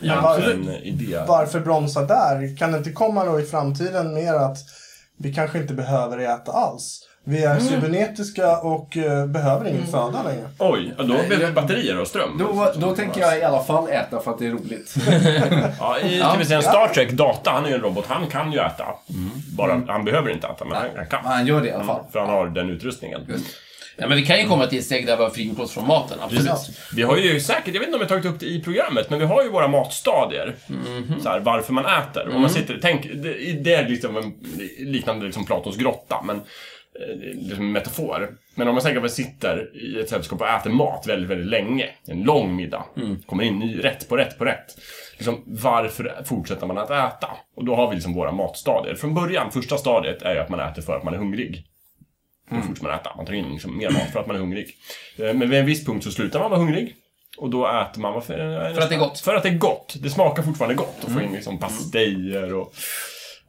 Ja, än absolut. en idé. Varför bromsa där? Kan det inte komma då i framtiden mer att vi kanske inte behöver äta alls? Vi Mm. är cybernetiska och eh, behöver ingen föda längre. Oj, ja, då Nej, blev det jag- batterier och ström. Då, då tänker jag i alla fall äta för att det är roligt. Ja, Mm. i, ska vi säga en Star Trek, Data, han är ju en robot. Han kan ju äta. Bara, han behöver inte äta, men han, han kan. Han gör det i alla fall. För han har den utrustningen. Ja, men vi kan ju komma till ett steg där vi har frigjort oss från maten, absolut. Precis. Vi har ju säkert, jag vet inte om jag tagit upp det i programmet, men vi har ju våra matstadier. Så här, varför man äter. Om man sitter, tänk, det, det är liksom en, liknande liksom Platons grotta, men eh, liksom en metafor. Men om man tänker att man sitter i ett sällskap och äter mat väldigt, väldigt länge, en lång middag, kommer in ny, rätt på rätt på rätt. Liksom, varför fortsätter man att äta? Och då har vi liksom våra matstadier. Från början, första stadiet är ju att man äter för att man är hungrig. Hur Mm. fort man äter. Man tar in liksom mer mat för att man är hungrig. Eh, Men vid en viss punkt så slutar man vara hungrig. Och då äter man... Varför, För att det är gott. Mm. För att det är gott. Det smakar fortfarande gott. Och få in liksom pastejer och...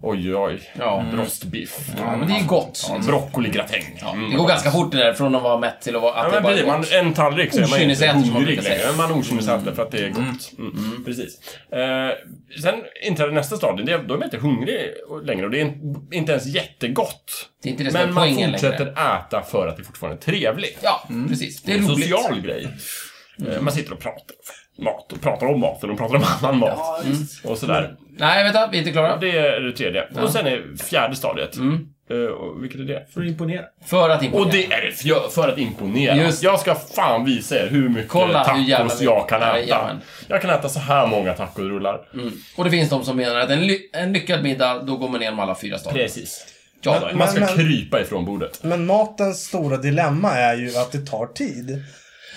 Oj, oj. Ja. Mm. Rostbiff. Ja, men det är ju gott. Ja, broccoligratäng. Ja, Det går ganska fort det där, från att vara mätt till att vara... Att Ja, det men bara är precis, man, gott. en tallrik så är man inte Okynnesäter, som man hungrig brukar säga. längre. Man okynnesäter för att det är gott. Mm. Precis. Eh, sen inträder nästa stadium. Det är, då är man inte hungrig längre och det är in- inte ens jättegott. Det är inte det som Men är man poängen fortsätter längre. äta för att det fortfarande är trevligt. Ja, Mm. precis. Det är en roligt. social grej. Eh, Man sitter och pratar mat och pratar om maten och pratar om annan mat. Och sådär. Nej, vänta. Vi är inte klara. Det är det tredje. Och sen är fjärde stadiet. Mm. Eh, och vilket är det? För att imponera. För att imponera. Och det är det för, för att imponera. Just. Jag ska fan visa er hur mycket Kolla hur jävla tacos mycket. jag kan äta. Jajamän. Jag kan äta så här många tacorullar. Och det finns de som menar att en, ly en lyckad middag, då går man igenom alla fyra stadier. Precis. Ja, Man men- ska men- krypa ifrån bordet. Men matens stora dilemma är ju att det tar tid.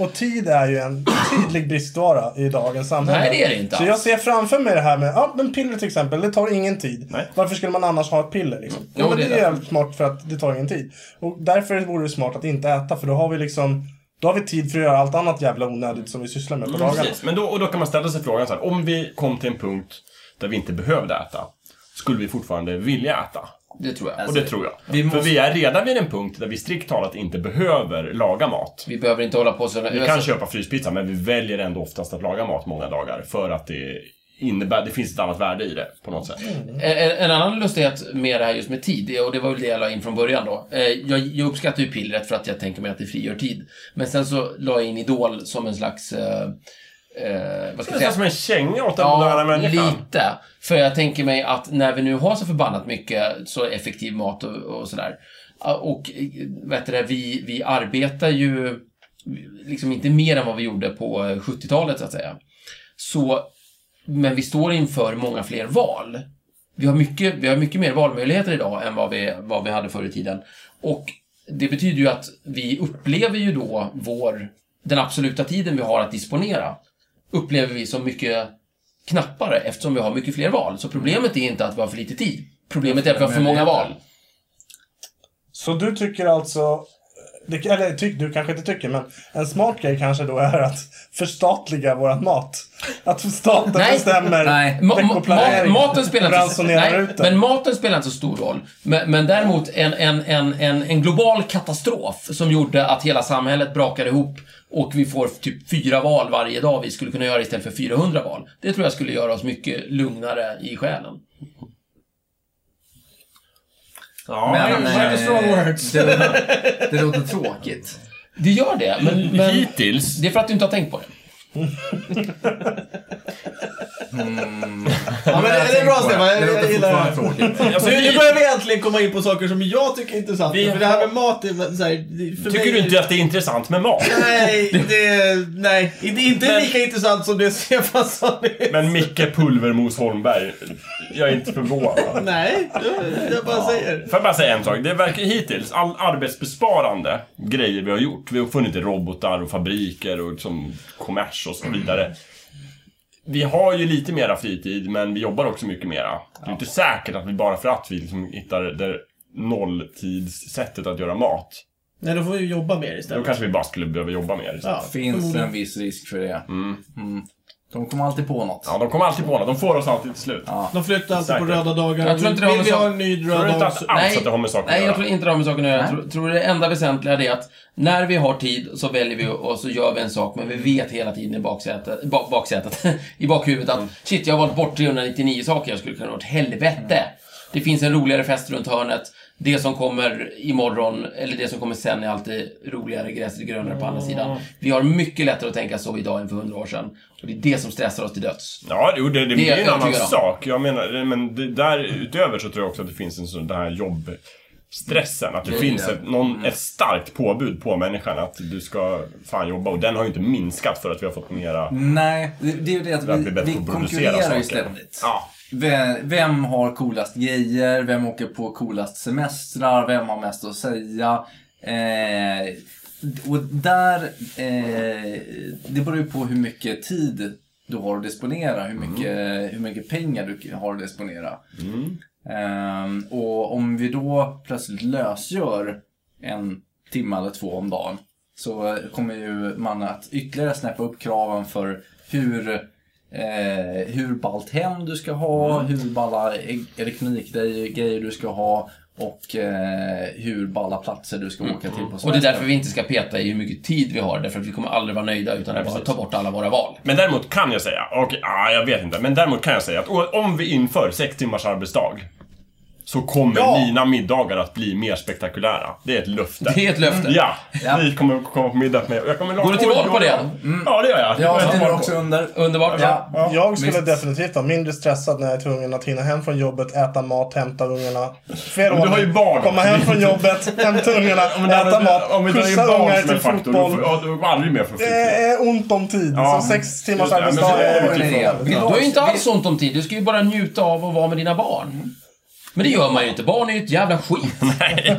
Och tid är ju en tydlig bristvara i dagens samhälle. Nej, det är det inte Så alls. jag ser framför mig det här med, ja men piller till exempel, det tar ingen tid. Nej. Varför skulle man annars ha ett piller liksom? Jo, Jo, men det är det är därför. jävligt smart för att det tar ingen tid. Och därför vore det smart att inte äta, för då har vi liksom, då har vi tid för att göra allt annat jävla onödigt som vi sysslar med Mm, på dagarna. Precis. Men då, och då kan man ställa sig frågan så här. Om vi kom till en punkt där vi inte behövde äta. Skulle vi fortfarande vilja äta? Det tror jag. Och det tror jag. Alltså, vi måste- För vi är redan vid en punkt där vi strikt talat inte behöver laga mat. Vi behöver inte hålla på så... Alltså- Vi kan köpa fryspizza, men vi väljer ändå oftast att laga mat många dagar. För att det innebär, det finns ett annat värde i det på något Mm, sätt. En, Eh, en- en annan lustighet med det här just med tid, och det var väl det jag la in från början då. Eh, Jag, jag uppskattar ju pillret för att jag tänker mig att det frigör tid. Men sen så la jag in Idol som en slags... Eh, eh, vad ska Nästan jag säga? som en känga åt den moderna människan. lite. För jag tänker mig att när vi nu har så förbannat mycket så effektiv mat och, och sådär. ah, Och eh, vet du det, vi, vi arbetar ju liksom inte mer än vad vi gjorde på eh, 70-talet så att säga. Så, men vi står inför många fler val. Vi har mycket, vi har mycket mer valmöjligheter idag än vad vi, vad vi hade förr i tiden. Och det betyder ju att vi upplever ju då vår, den absoluta tiden vi har att disponera, upplever vi som mycket knappare eftersom vi har mycket fler val. Så problemet är inte att vi har för lite tid. Problemet är att vi har för många val. Så du tycker alltså, det, eller tyck, du kanske inte tycker, men en smart grej kanske då är att förstatliga vårat mat. Att staten Nej. bestämmer Nej. Ma- ma- ma- veckoplanering. maten spelar inte, så- Ransonerar nej, ut men den. maten spelar inte så stor roll. Men, men däremot en, en, en, en, en global katastrof som gjorde att hela samhället brakade ihop och vi får typ fyra val varje dag vi skulle kunna göra istället för 400 val. Det tror jag skulle göra oss mycket lugnare i själen. Ja, Men, men- eh, det, låter, det låter tråkigt. Det gör det, men, men Hittills det är för att du inte har tänkt på det. Ja, men det, det är bra Stefan, jag, jag gillar det. det. Alltså, Nu jag- börjar vi äntligen komma in på saker som jag tycker är intressanta. Vi- För det här med mat, är, väl så här, det- för mig, Tycker du inte att det är intressant med mat? Nej, det, nej, det är inte Men- lika intressant som det Stefan sa nu. Men Micke Pulvermos Holmberg, jag är inte förvånad. Nej, jag, jag bara säger. Får jag bara säga en sak? Det verkar hittills, all arbetsbesparande grejer vi har gjort, vi har funnit robotar och fabriker och liksom kommers och Mm. så vidare. Vi har ju lite mera fritid, men vi jobbar också mycket mera. Det är inte säkert att vi bara för att vi liksom hittar det nolltidssättet att göra mat, Nej, då får vi jobba mer då istället. kanske vi bara skulle behöva jobba mer istället. Ja, Finns det Mm. förmodligen. en viss risk för det. Mm. De kommer alltid på något. Ja, de kommer alltid på något. De får oss alltid till slut. De flyttar alltid på Säkert. röda dagar. Jag tror inte det vi, har med vi så- har en ny Jag röd tror inte dag. alls Nej. att det har med saker Nej, att jag göra. tror inte det har med saken att göra. Jag Nej. tror, tror det enda väsentliga är det att när vi har tid så väljer vi och så gör vi en sak, men vi vet hela tiden i baksätet, bak, baksätet i bakhuvudet att shit, jag har valt bort 399 saker jag skulle kunna ha gjort. Helvete! Det finns en roligare fest runt hörnet. Det som kommer imorgon, eller det som kommer sen, är alltid roligare, gräset är grönare på andra sidan. Vi har mycket lättare att tänka så idag än för hundra år sedan. Och det är det som stressar oss till döds. Ja, jo, det, det, Det är det jag är en annan övertygad om. sak. Jag menar, men det, där utöver så tror jag också att det finns en sån den här jobbstressen. Att det finns ett, någon, ett starkt påbud på människan att du ska fan jobba. Och den har ju inte minskat för att vi har fått mera... Nej, det, det är ju det att För att vi, bli bättre vi på att producera konkurrerar ju saker. ständigt. Ja. Vem, vem har coolast grejer? Vem åker på coolast semestrar? Vem har mest att säga? Eh, och där... Eh, det beror ju på hur mycket tid du har att disponera. Hur mycket, Mm. hur mycket pengar du har att disponera. Ehm, och om vi då plötsligt lösgör en timme eller två om dagen så kommer ju man att ytterligare snäppa upp kraven för hur, eh, hur ballt hem du ska ha, hur balla e- elektronikgrejer du ska ha och eh, hur balla platser du ska åka till på Och det är semestern. därför vi inte ska peta i hur mycket tid vi har, därför att vi kommer aldrig vara nöjda utan att bara ta bort alla våra val. Men däremot kan jag säga, okej, ah, jag vet inte. Men däremot kan jag säga att o- om vi inför sex timmars arbetsdag så kommer Ja. mina middagar att bli mer spektakulära. Det är ett löfte. Det är ett löfte. Ja, Ja. ni kommer komma på middag med mig. Jag kommer Går du till val på det? Ja, det gör jag. Det Ja, går jag det till är val på. också under. Underbart. Ja. Jag skulle visst. definitivt vara mindre stressad när jag är tvungen att hinna hem från jobbet, äta mat, hämta ungarna. Flera Men du har ju barn. Komma hem från jobbet, hämta ungarna, äta om mat, vi drar in skjutsa barn ungar som en till faktor, då fotboll. Eh, får, ja, då är aldrig mer från Det fritid. är ont om tid. Ja. Så sex timmars Just det, men så arbetsdag är det är... ju. Vi Du har ju inte låts- alls ont om tid. Du ska ju bara njuta av att vara med dina barn. Men det gör man ju inte. Barn är ju ett jävla skit. Nej.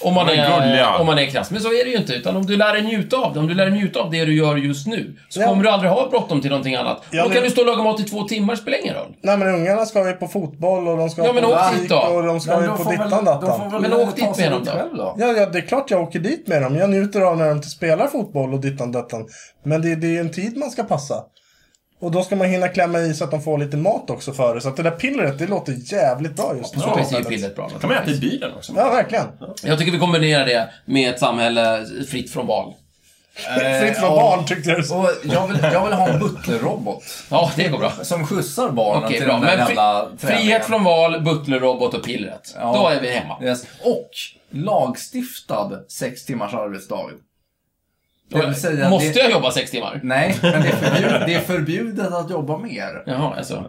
Om man, Men är, gulliga. om man är krass. Men så är det ju inte. Utan om du lär dig njuta av det, om du lär dig njuta av det du gör just nu, så Ja. kommer du aldrig ha bråttom till någonting annat. Ja, Då men- kan du stå och laga mat i två timmar, spelar ingen roll. Nej men ungarna ska ju på fotboll och de ska Ja, men på åk dit musik då. och de ska Men ju de på får väl- dittan de får dattan. väl Men åk dit ta sig med dit dem då. själv då. Ja, ja, det är klart jag åker dit med dem. Jag njuter av när de spelar fotboll och dittan dattan. Men det, det är ju en tid man ska passa. Och då ska man hinna klämma i så att de får lite mat också före. Så att det där pillret, det låter jävligt bra just nu. Så är ju pillret bra. Kan man äta i bilen också? Ja, verkligen. Jag tycker vi kombinerar det med ett samhälle fritt från val. Eh, Fritt från ja. barn tyckte jag. Och jag, vill, jag vill ha en butlerrobot Ja, det går bra. som skjutsar barnen Okej, till bra. den där Men fri, jävla träningen. frihet från val, butlerrobot och pillret. Ja. Då är vi hemma. Yes. Och lagstiftad sex timmars arbetsdag. Det vill säga att Måste det, jag jobba sex timmar? Nej, men det är, förbjud, det är förbjudet att jobba mer. Jaha, alltså.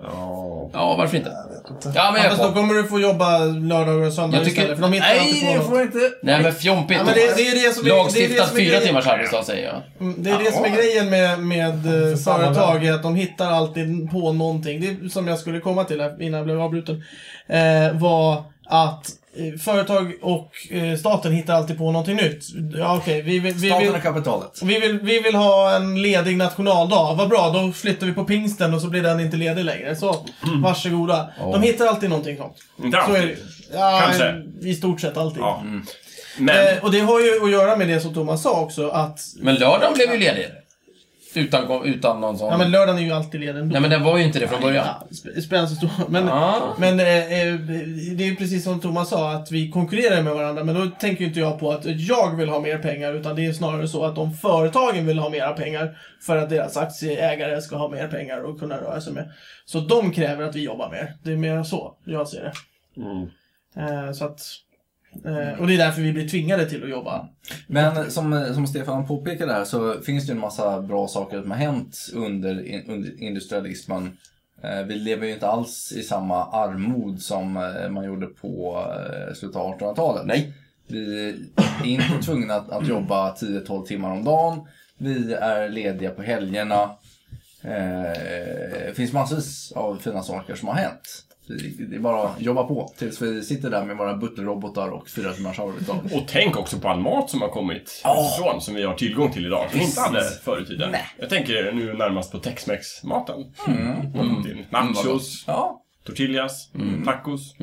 Ja, varför inte? Ja, men Ja, fast då jag kommer du få jobba lördagar och söndagar Jag tycker- istället. För de hittar alltid Nej, på det något. får inte. Nej, men fjompigt. Ja, men det, det är det som är, det är det Lagstiftat som är fyra grejen. timmars arbetsdag, säger jag. Mm, Det är det som är grejen med, med eh, företag, är att de hittar alltid på någonting. Det är som jag skulle komma till här innan jag blev avbruten. Eh, var att eh, företag och eh, staten hittar alltid på någonting nytt. Ja, okej, vi, vi, vi, Staten vi, och kapitalet. vi, vill, vi vill ha en ledig nationaldag. Vad bra, då flyttar vi på pingsten och så blir den inte ledig längre. Så, varsågoda. De hittar alltid någonting sånt. Inte Så är Mm. alltid. det. Ja, Kanske. I stort sett alltid. Ja. Men, Eh, och det har ju att göra med det som Thomas sa också, att Men lördagen blev ju ledig. Utan, utan någon sån... Ja men lördagen är ju alltid ledig ändå. Nej, men den var ju inte det från början. Ja, sp- spelar så stor Men, Ja. men eh, eh, det är ju precis som Thomas sa, att vi konkurrerar med varandra. Men då tänker ju inte jag på att jag vill ha mer pengar, utan det är snarare så att om företagen vill ha mera pengar för att deras aktieägare ska ha mer pengar och kunna röra sig med. Så Mm. de kräver att vi jobbar mer. Det är mer så jag ser det. Eh, så att Eh, och det är därför vi blir tvingade till att jobba. Men som, som Stefan påpekade här så finns det ju en massa bra saker som har hänt under, in- under industrialismen. Eh, Vi lever ju inte alls i samma armod som eh, man gjorde på eh, slutet av 1800-talet. Nej. Vi är inte tvungna att, att jobba 10-12 timmar om dagen. Vi är lediga på helgerna. Eh, Det finns massvis av fina saker som har hänt. Vi- Det är bara att jobba på tills vi sitter där med våra butterrobotar och fyra timmars arbetsdag. Och tänk också på all mat som har kommit utifrån, som vi har tillgång till idag, som vi inte hade förr i tiden. Jag tänker nu närmast på tex-mex-maten. Mm. Nachos, Ja, tortillas, tacos.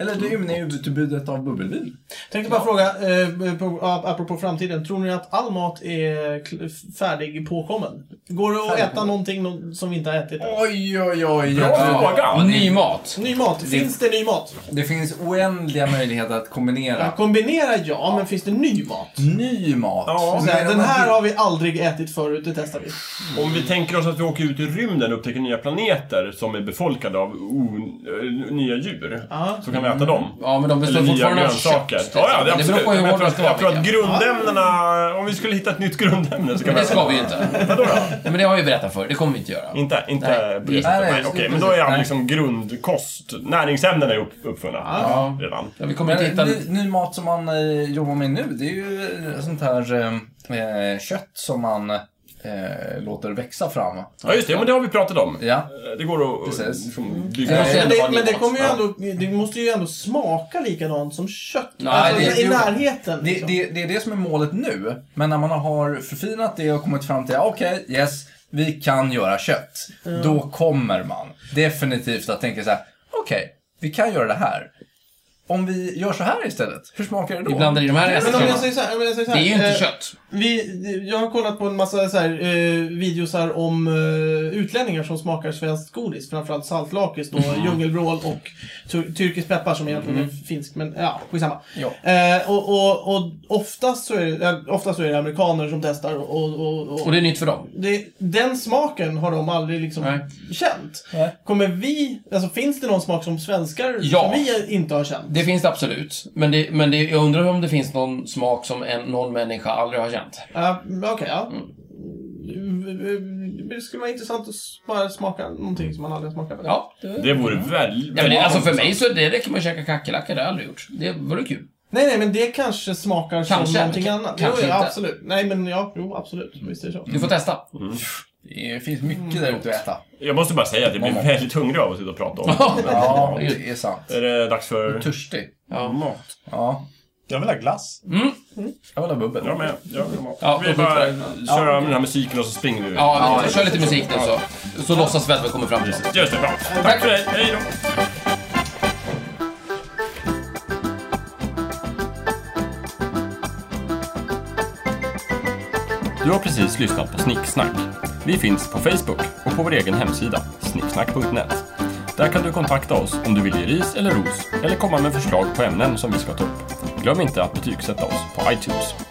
Eller det ymniga utbudet av bubbelvin. Tänkte bara fråga, eh, på, ap- apropå framtiden, tror ni att all mat är kl- färdig påkommen? Går det att äta någonting no- som vi inte har ätit? än? Oj, oj, oj. Bra fråga! Ny mat. Ny mat, finns det ny mat? Det finns oändliga möjligheter att kombinera. Kombinera ja, men finns det ny mat? Mm. Ny mat. Ja, Så Men här, om Den man- här har vi aldrig ätit förut, det testar vi. Om vi tänker oss att vi åker ut i rymden och upptäcker nya planeter som är befolkade av o- eh, nya djur, Ja. så kan vi äta dem. Ja, men de Eller består nya fortfarande av grönsaker. kött. Ja, ja, det, det beror absolut. på hur Men jag, hårda tror, de ska vara. jag tror att Mikael. grundämnena... Om vi skulle hitta ett nytt grundämne så kan vi Men det äta ska dem. vi ju inte. Vadå då? Men det har vi berättat för. Det kommer vi inte göra. Inte, inte Nej. på det Nej, sättet. Nej, nej, okej, precis. men då är han Nej. liksom grundkost. Näringsämnena är upp, uppfunna Ja. redan. Ja, vi kommer inte Men hitta... ny, ny mat som man eh, jobbar med nu, det är ju eh, sånt här eh, kött som man eh, låter växa fram. Ja, just det. Ja, men det har vi pratat om. Ja. Det går att Precis. liksom, Ja, bygga men Men upp det, men det, mat. kommer ju Ja. ändå, det måste ju ändå smaka likadant som kött. Nej, alltså, det- I det- närheten. Det, liksom. det, det är det som är målet nu. Men när man har förfinat det och kommit fram till, ja, okej, yes, vi kan göra kött. Då kommer man definitivt att tänka så här, okej, vi kan göra det här. Om vi gör så här istället, hur smakar det då? Vi blandar i de här Men om jag resterna. säger så här, om jag säger så Det här är ju inte eh, kött. Vi, jag har kollat på en massa så här, eh, videosar om eh, utlänningar som smakar svenskt godis. Framförallt saltlakis, då, Mm. djungelvrål och tur- turkisk peppar som egentligen är finskt. Men ja, skitsamma. Ja. Eh, och, och, och oftast, så är, det- eh, oftast så är det amerikaner som testar. Och, och, och, Och det är nytt för dem. det, den smaken har de aldrig liksom Nej. känt. Nej. Kommer vi, alltså finns det någon smak som svenskar Ja. som vi inte har känt? Det finns det absolut. Men, det, men det, jag undrar om det finns någon smak som en, någon människa aldrig har känt. Ja, Okej, ja. Mm, Det skulle vara intressant att s- bara smaka någonting som man aldrig har smakat. Ja. det- Det vore väldigt... Ja, men det, alltså för mig så det räcker med att käka kackerlackor, det har jag aldrig gjort. Det vore kul. Nej, nej, men det kanske smakar Kanske, som någonting men annat. kanske jo, ja, inte. absolut. Nej, men ja, jo, absolut. Visst är det så. Du får testa. Det finns mycket där ute att äta. Jag måste bara säga att jag blir väldigt hungrig av att sitta och prata om. Ja, det är sant. Är det dags för Törstig. mat? Ja, Jag vill ha glass. jag vill ha bubbel. Jag med. Jag vill ha mat. Ja, vi då bara skjuter köra med den här musiken och så springer vi. Ja, kör lite musik nu så. Så låtsas vi att vi kommer fram till något. Just det, bra. Tack för dig. Hej då. Du har precis lyssnat på Snicksnack. Vi finns på Facebook och på vår egen hemsida, snicksnack.net. Där kan du kontakta oss om du vill ge ris eller ros eller komma med förslag på ämnen som vi ska ta upp. Glöm inte att betygsätta oss på iTunes.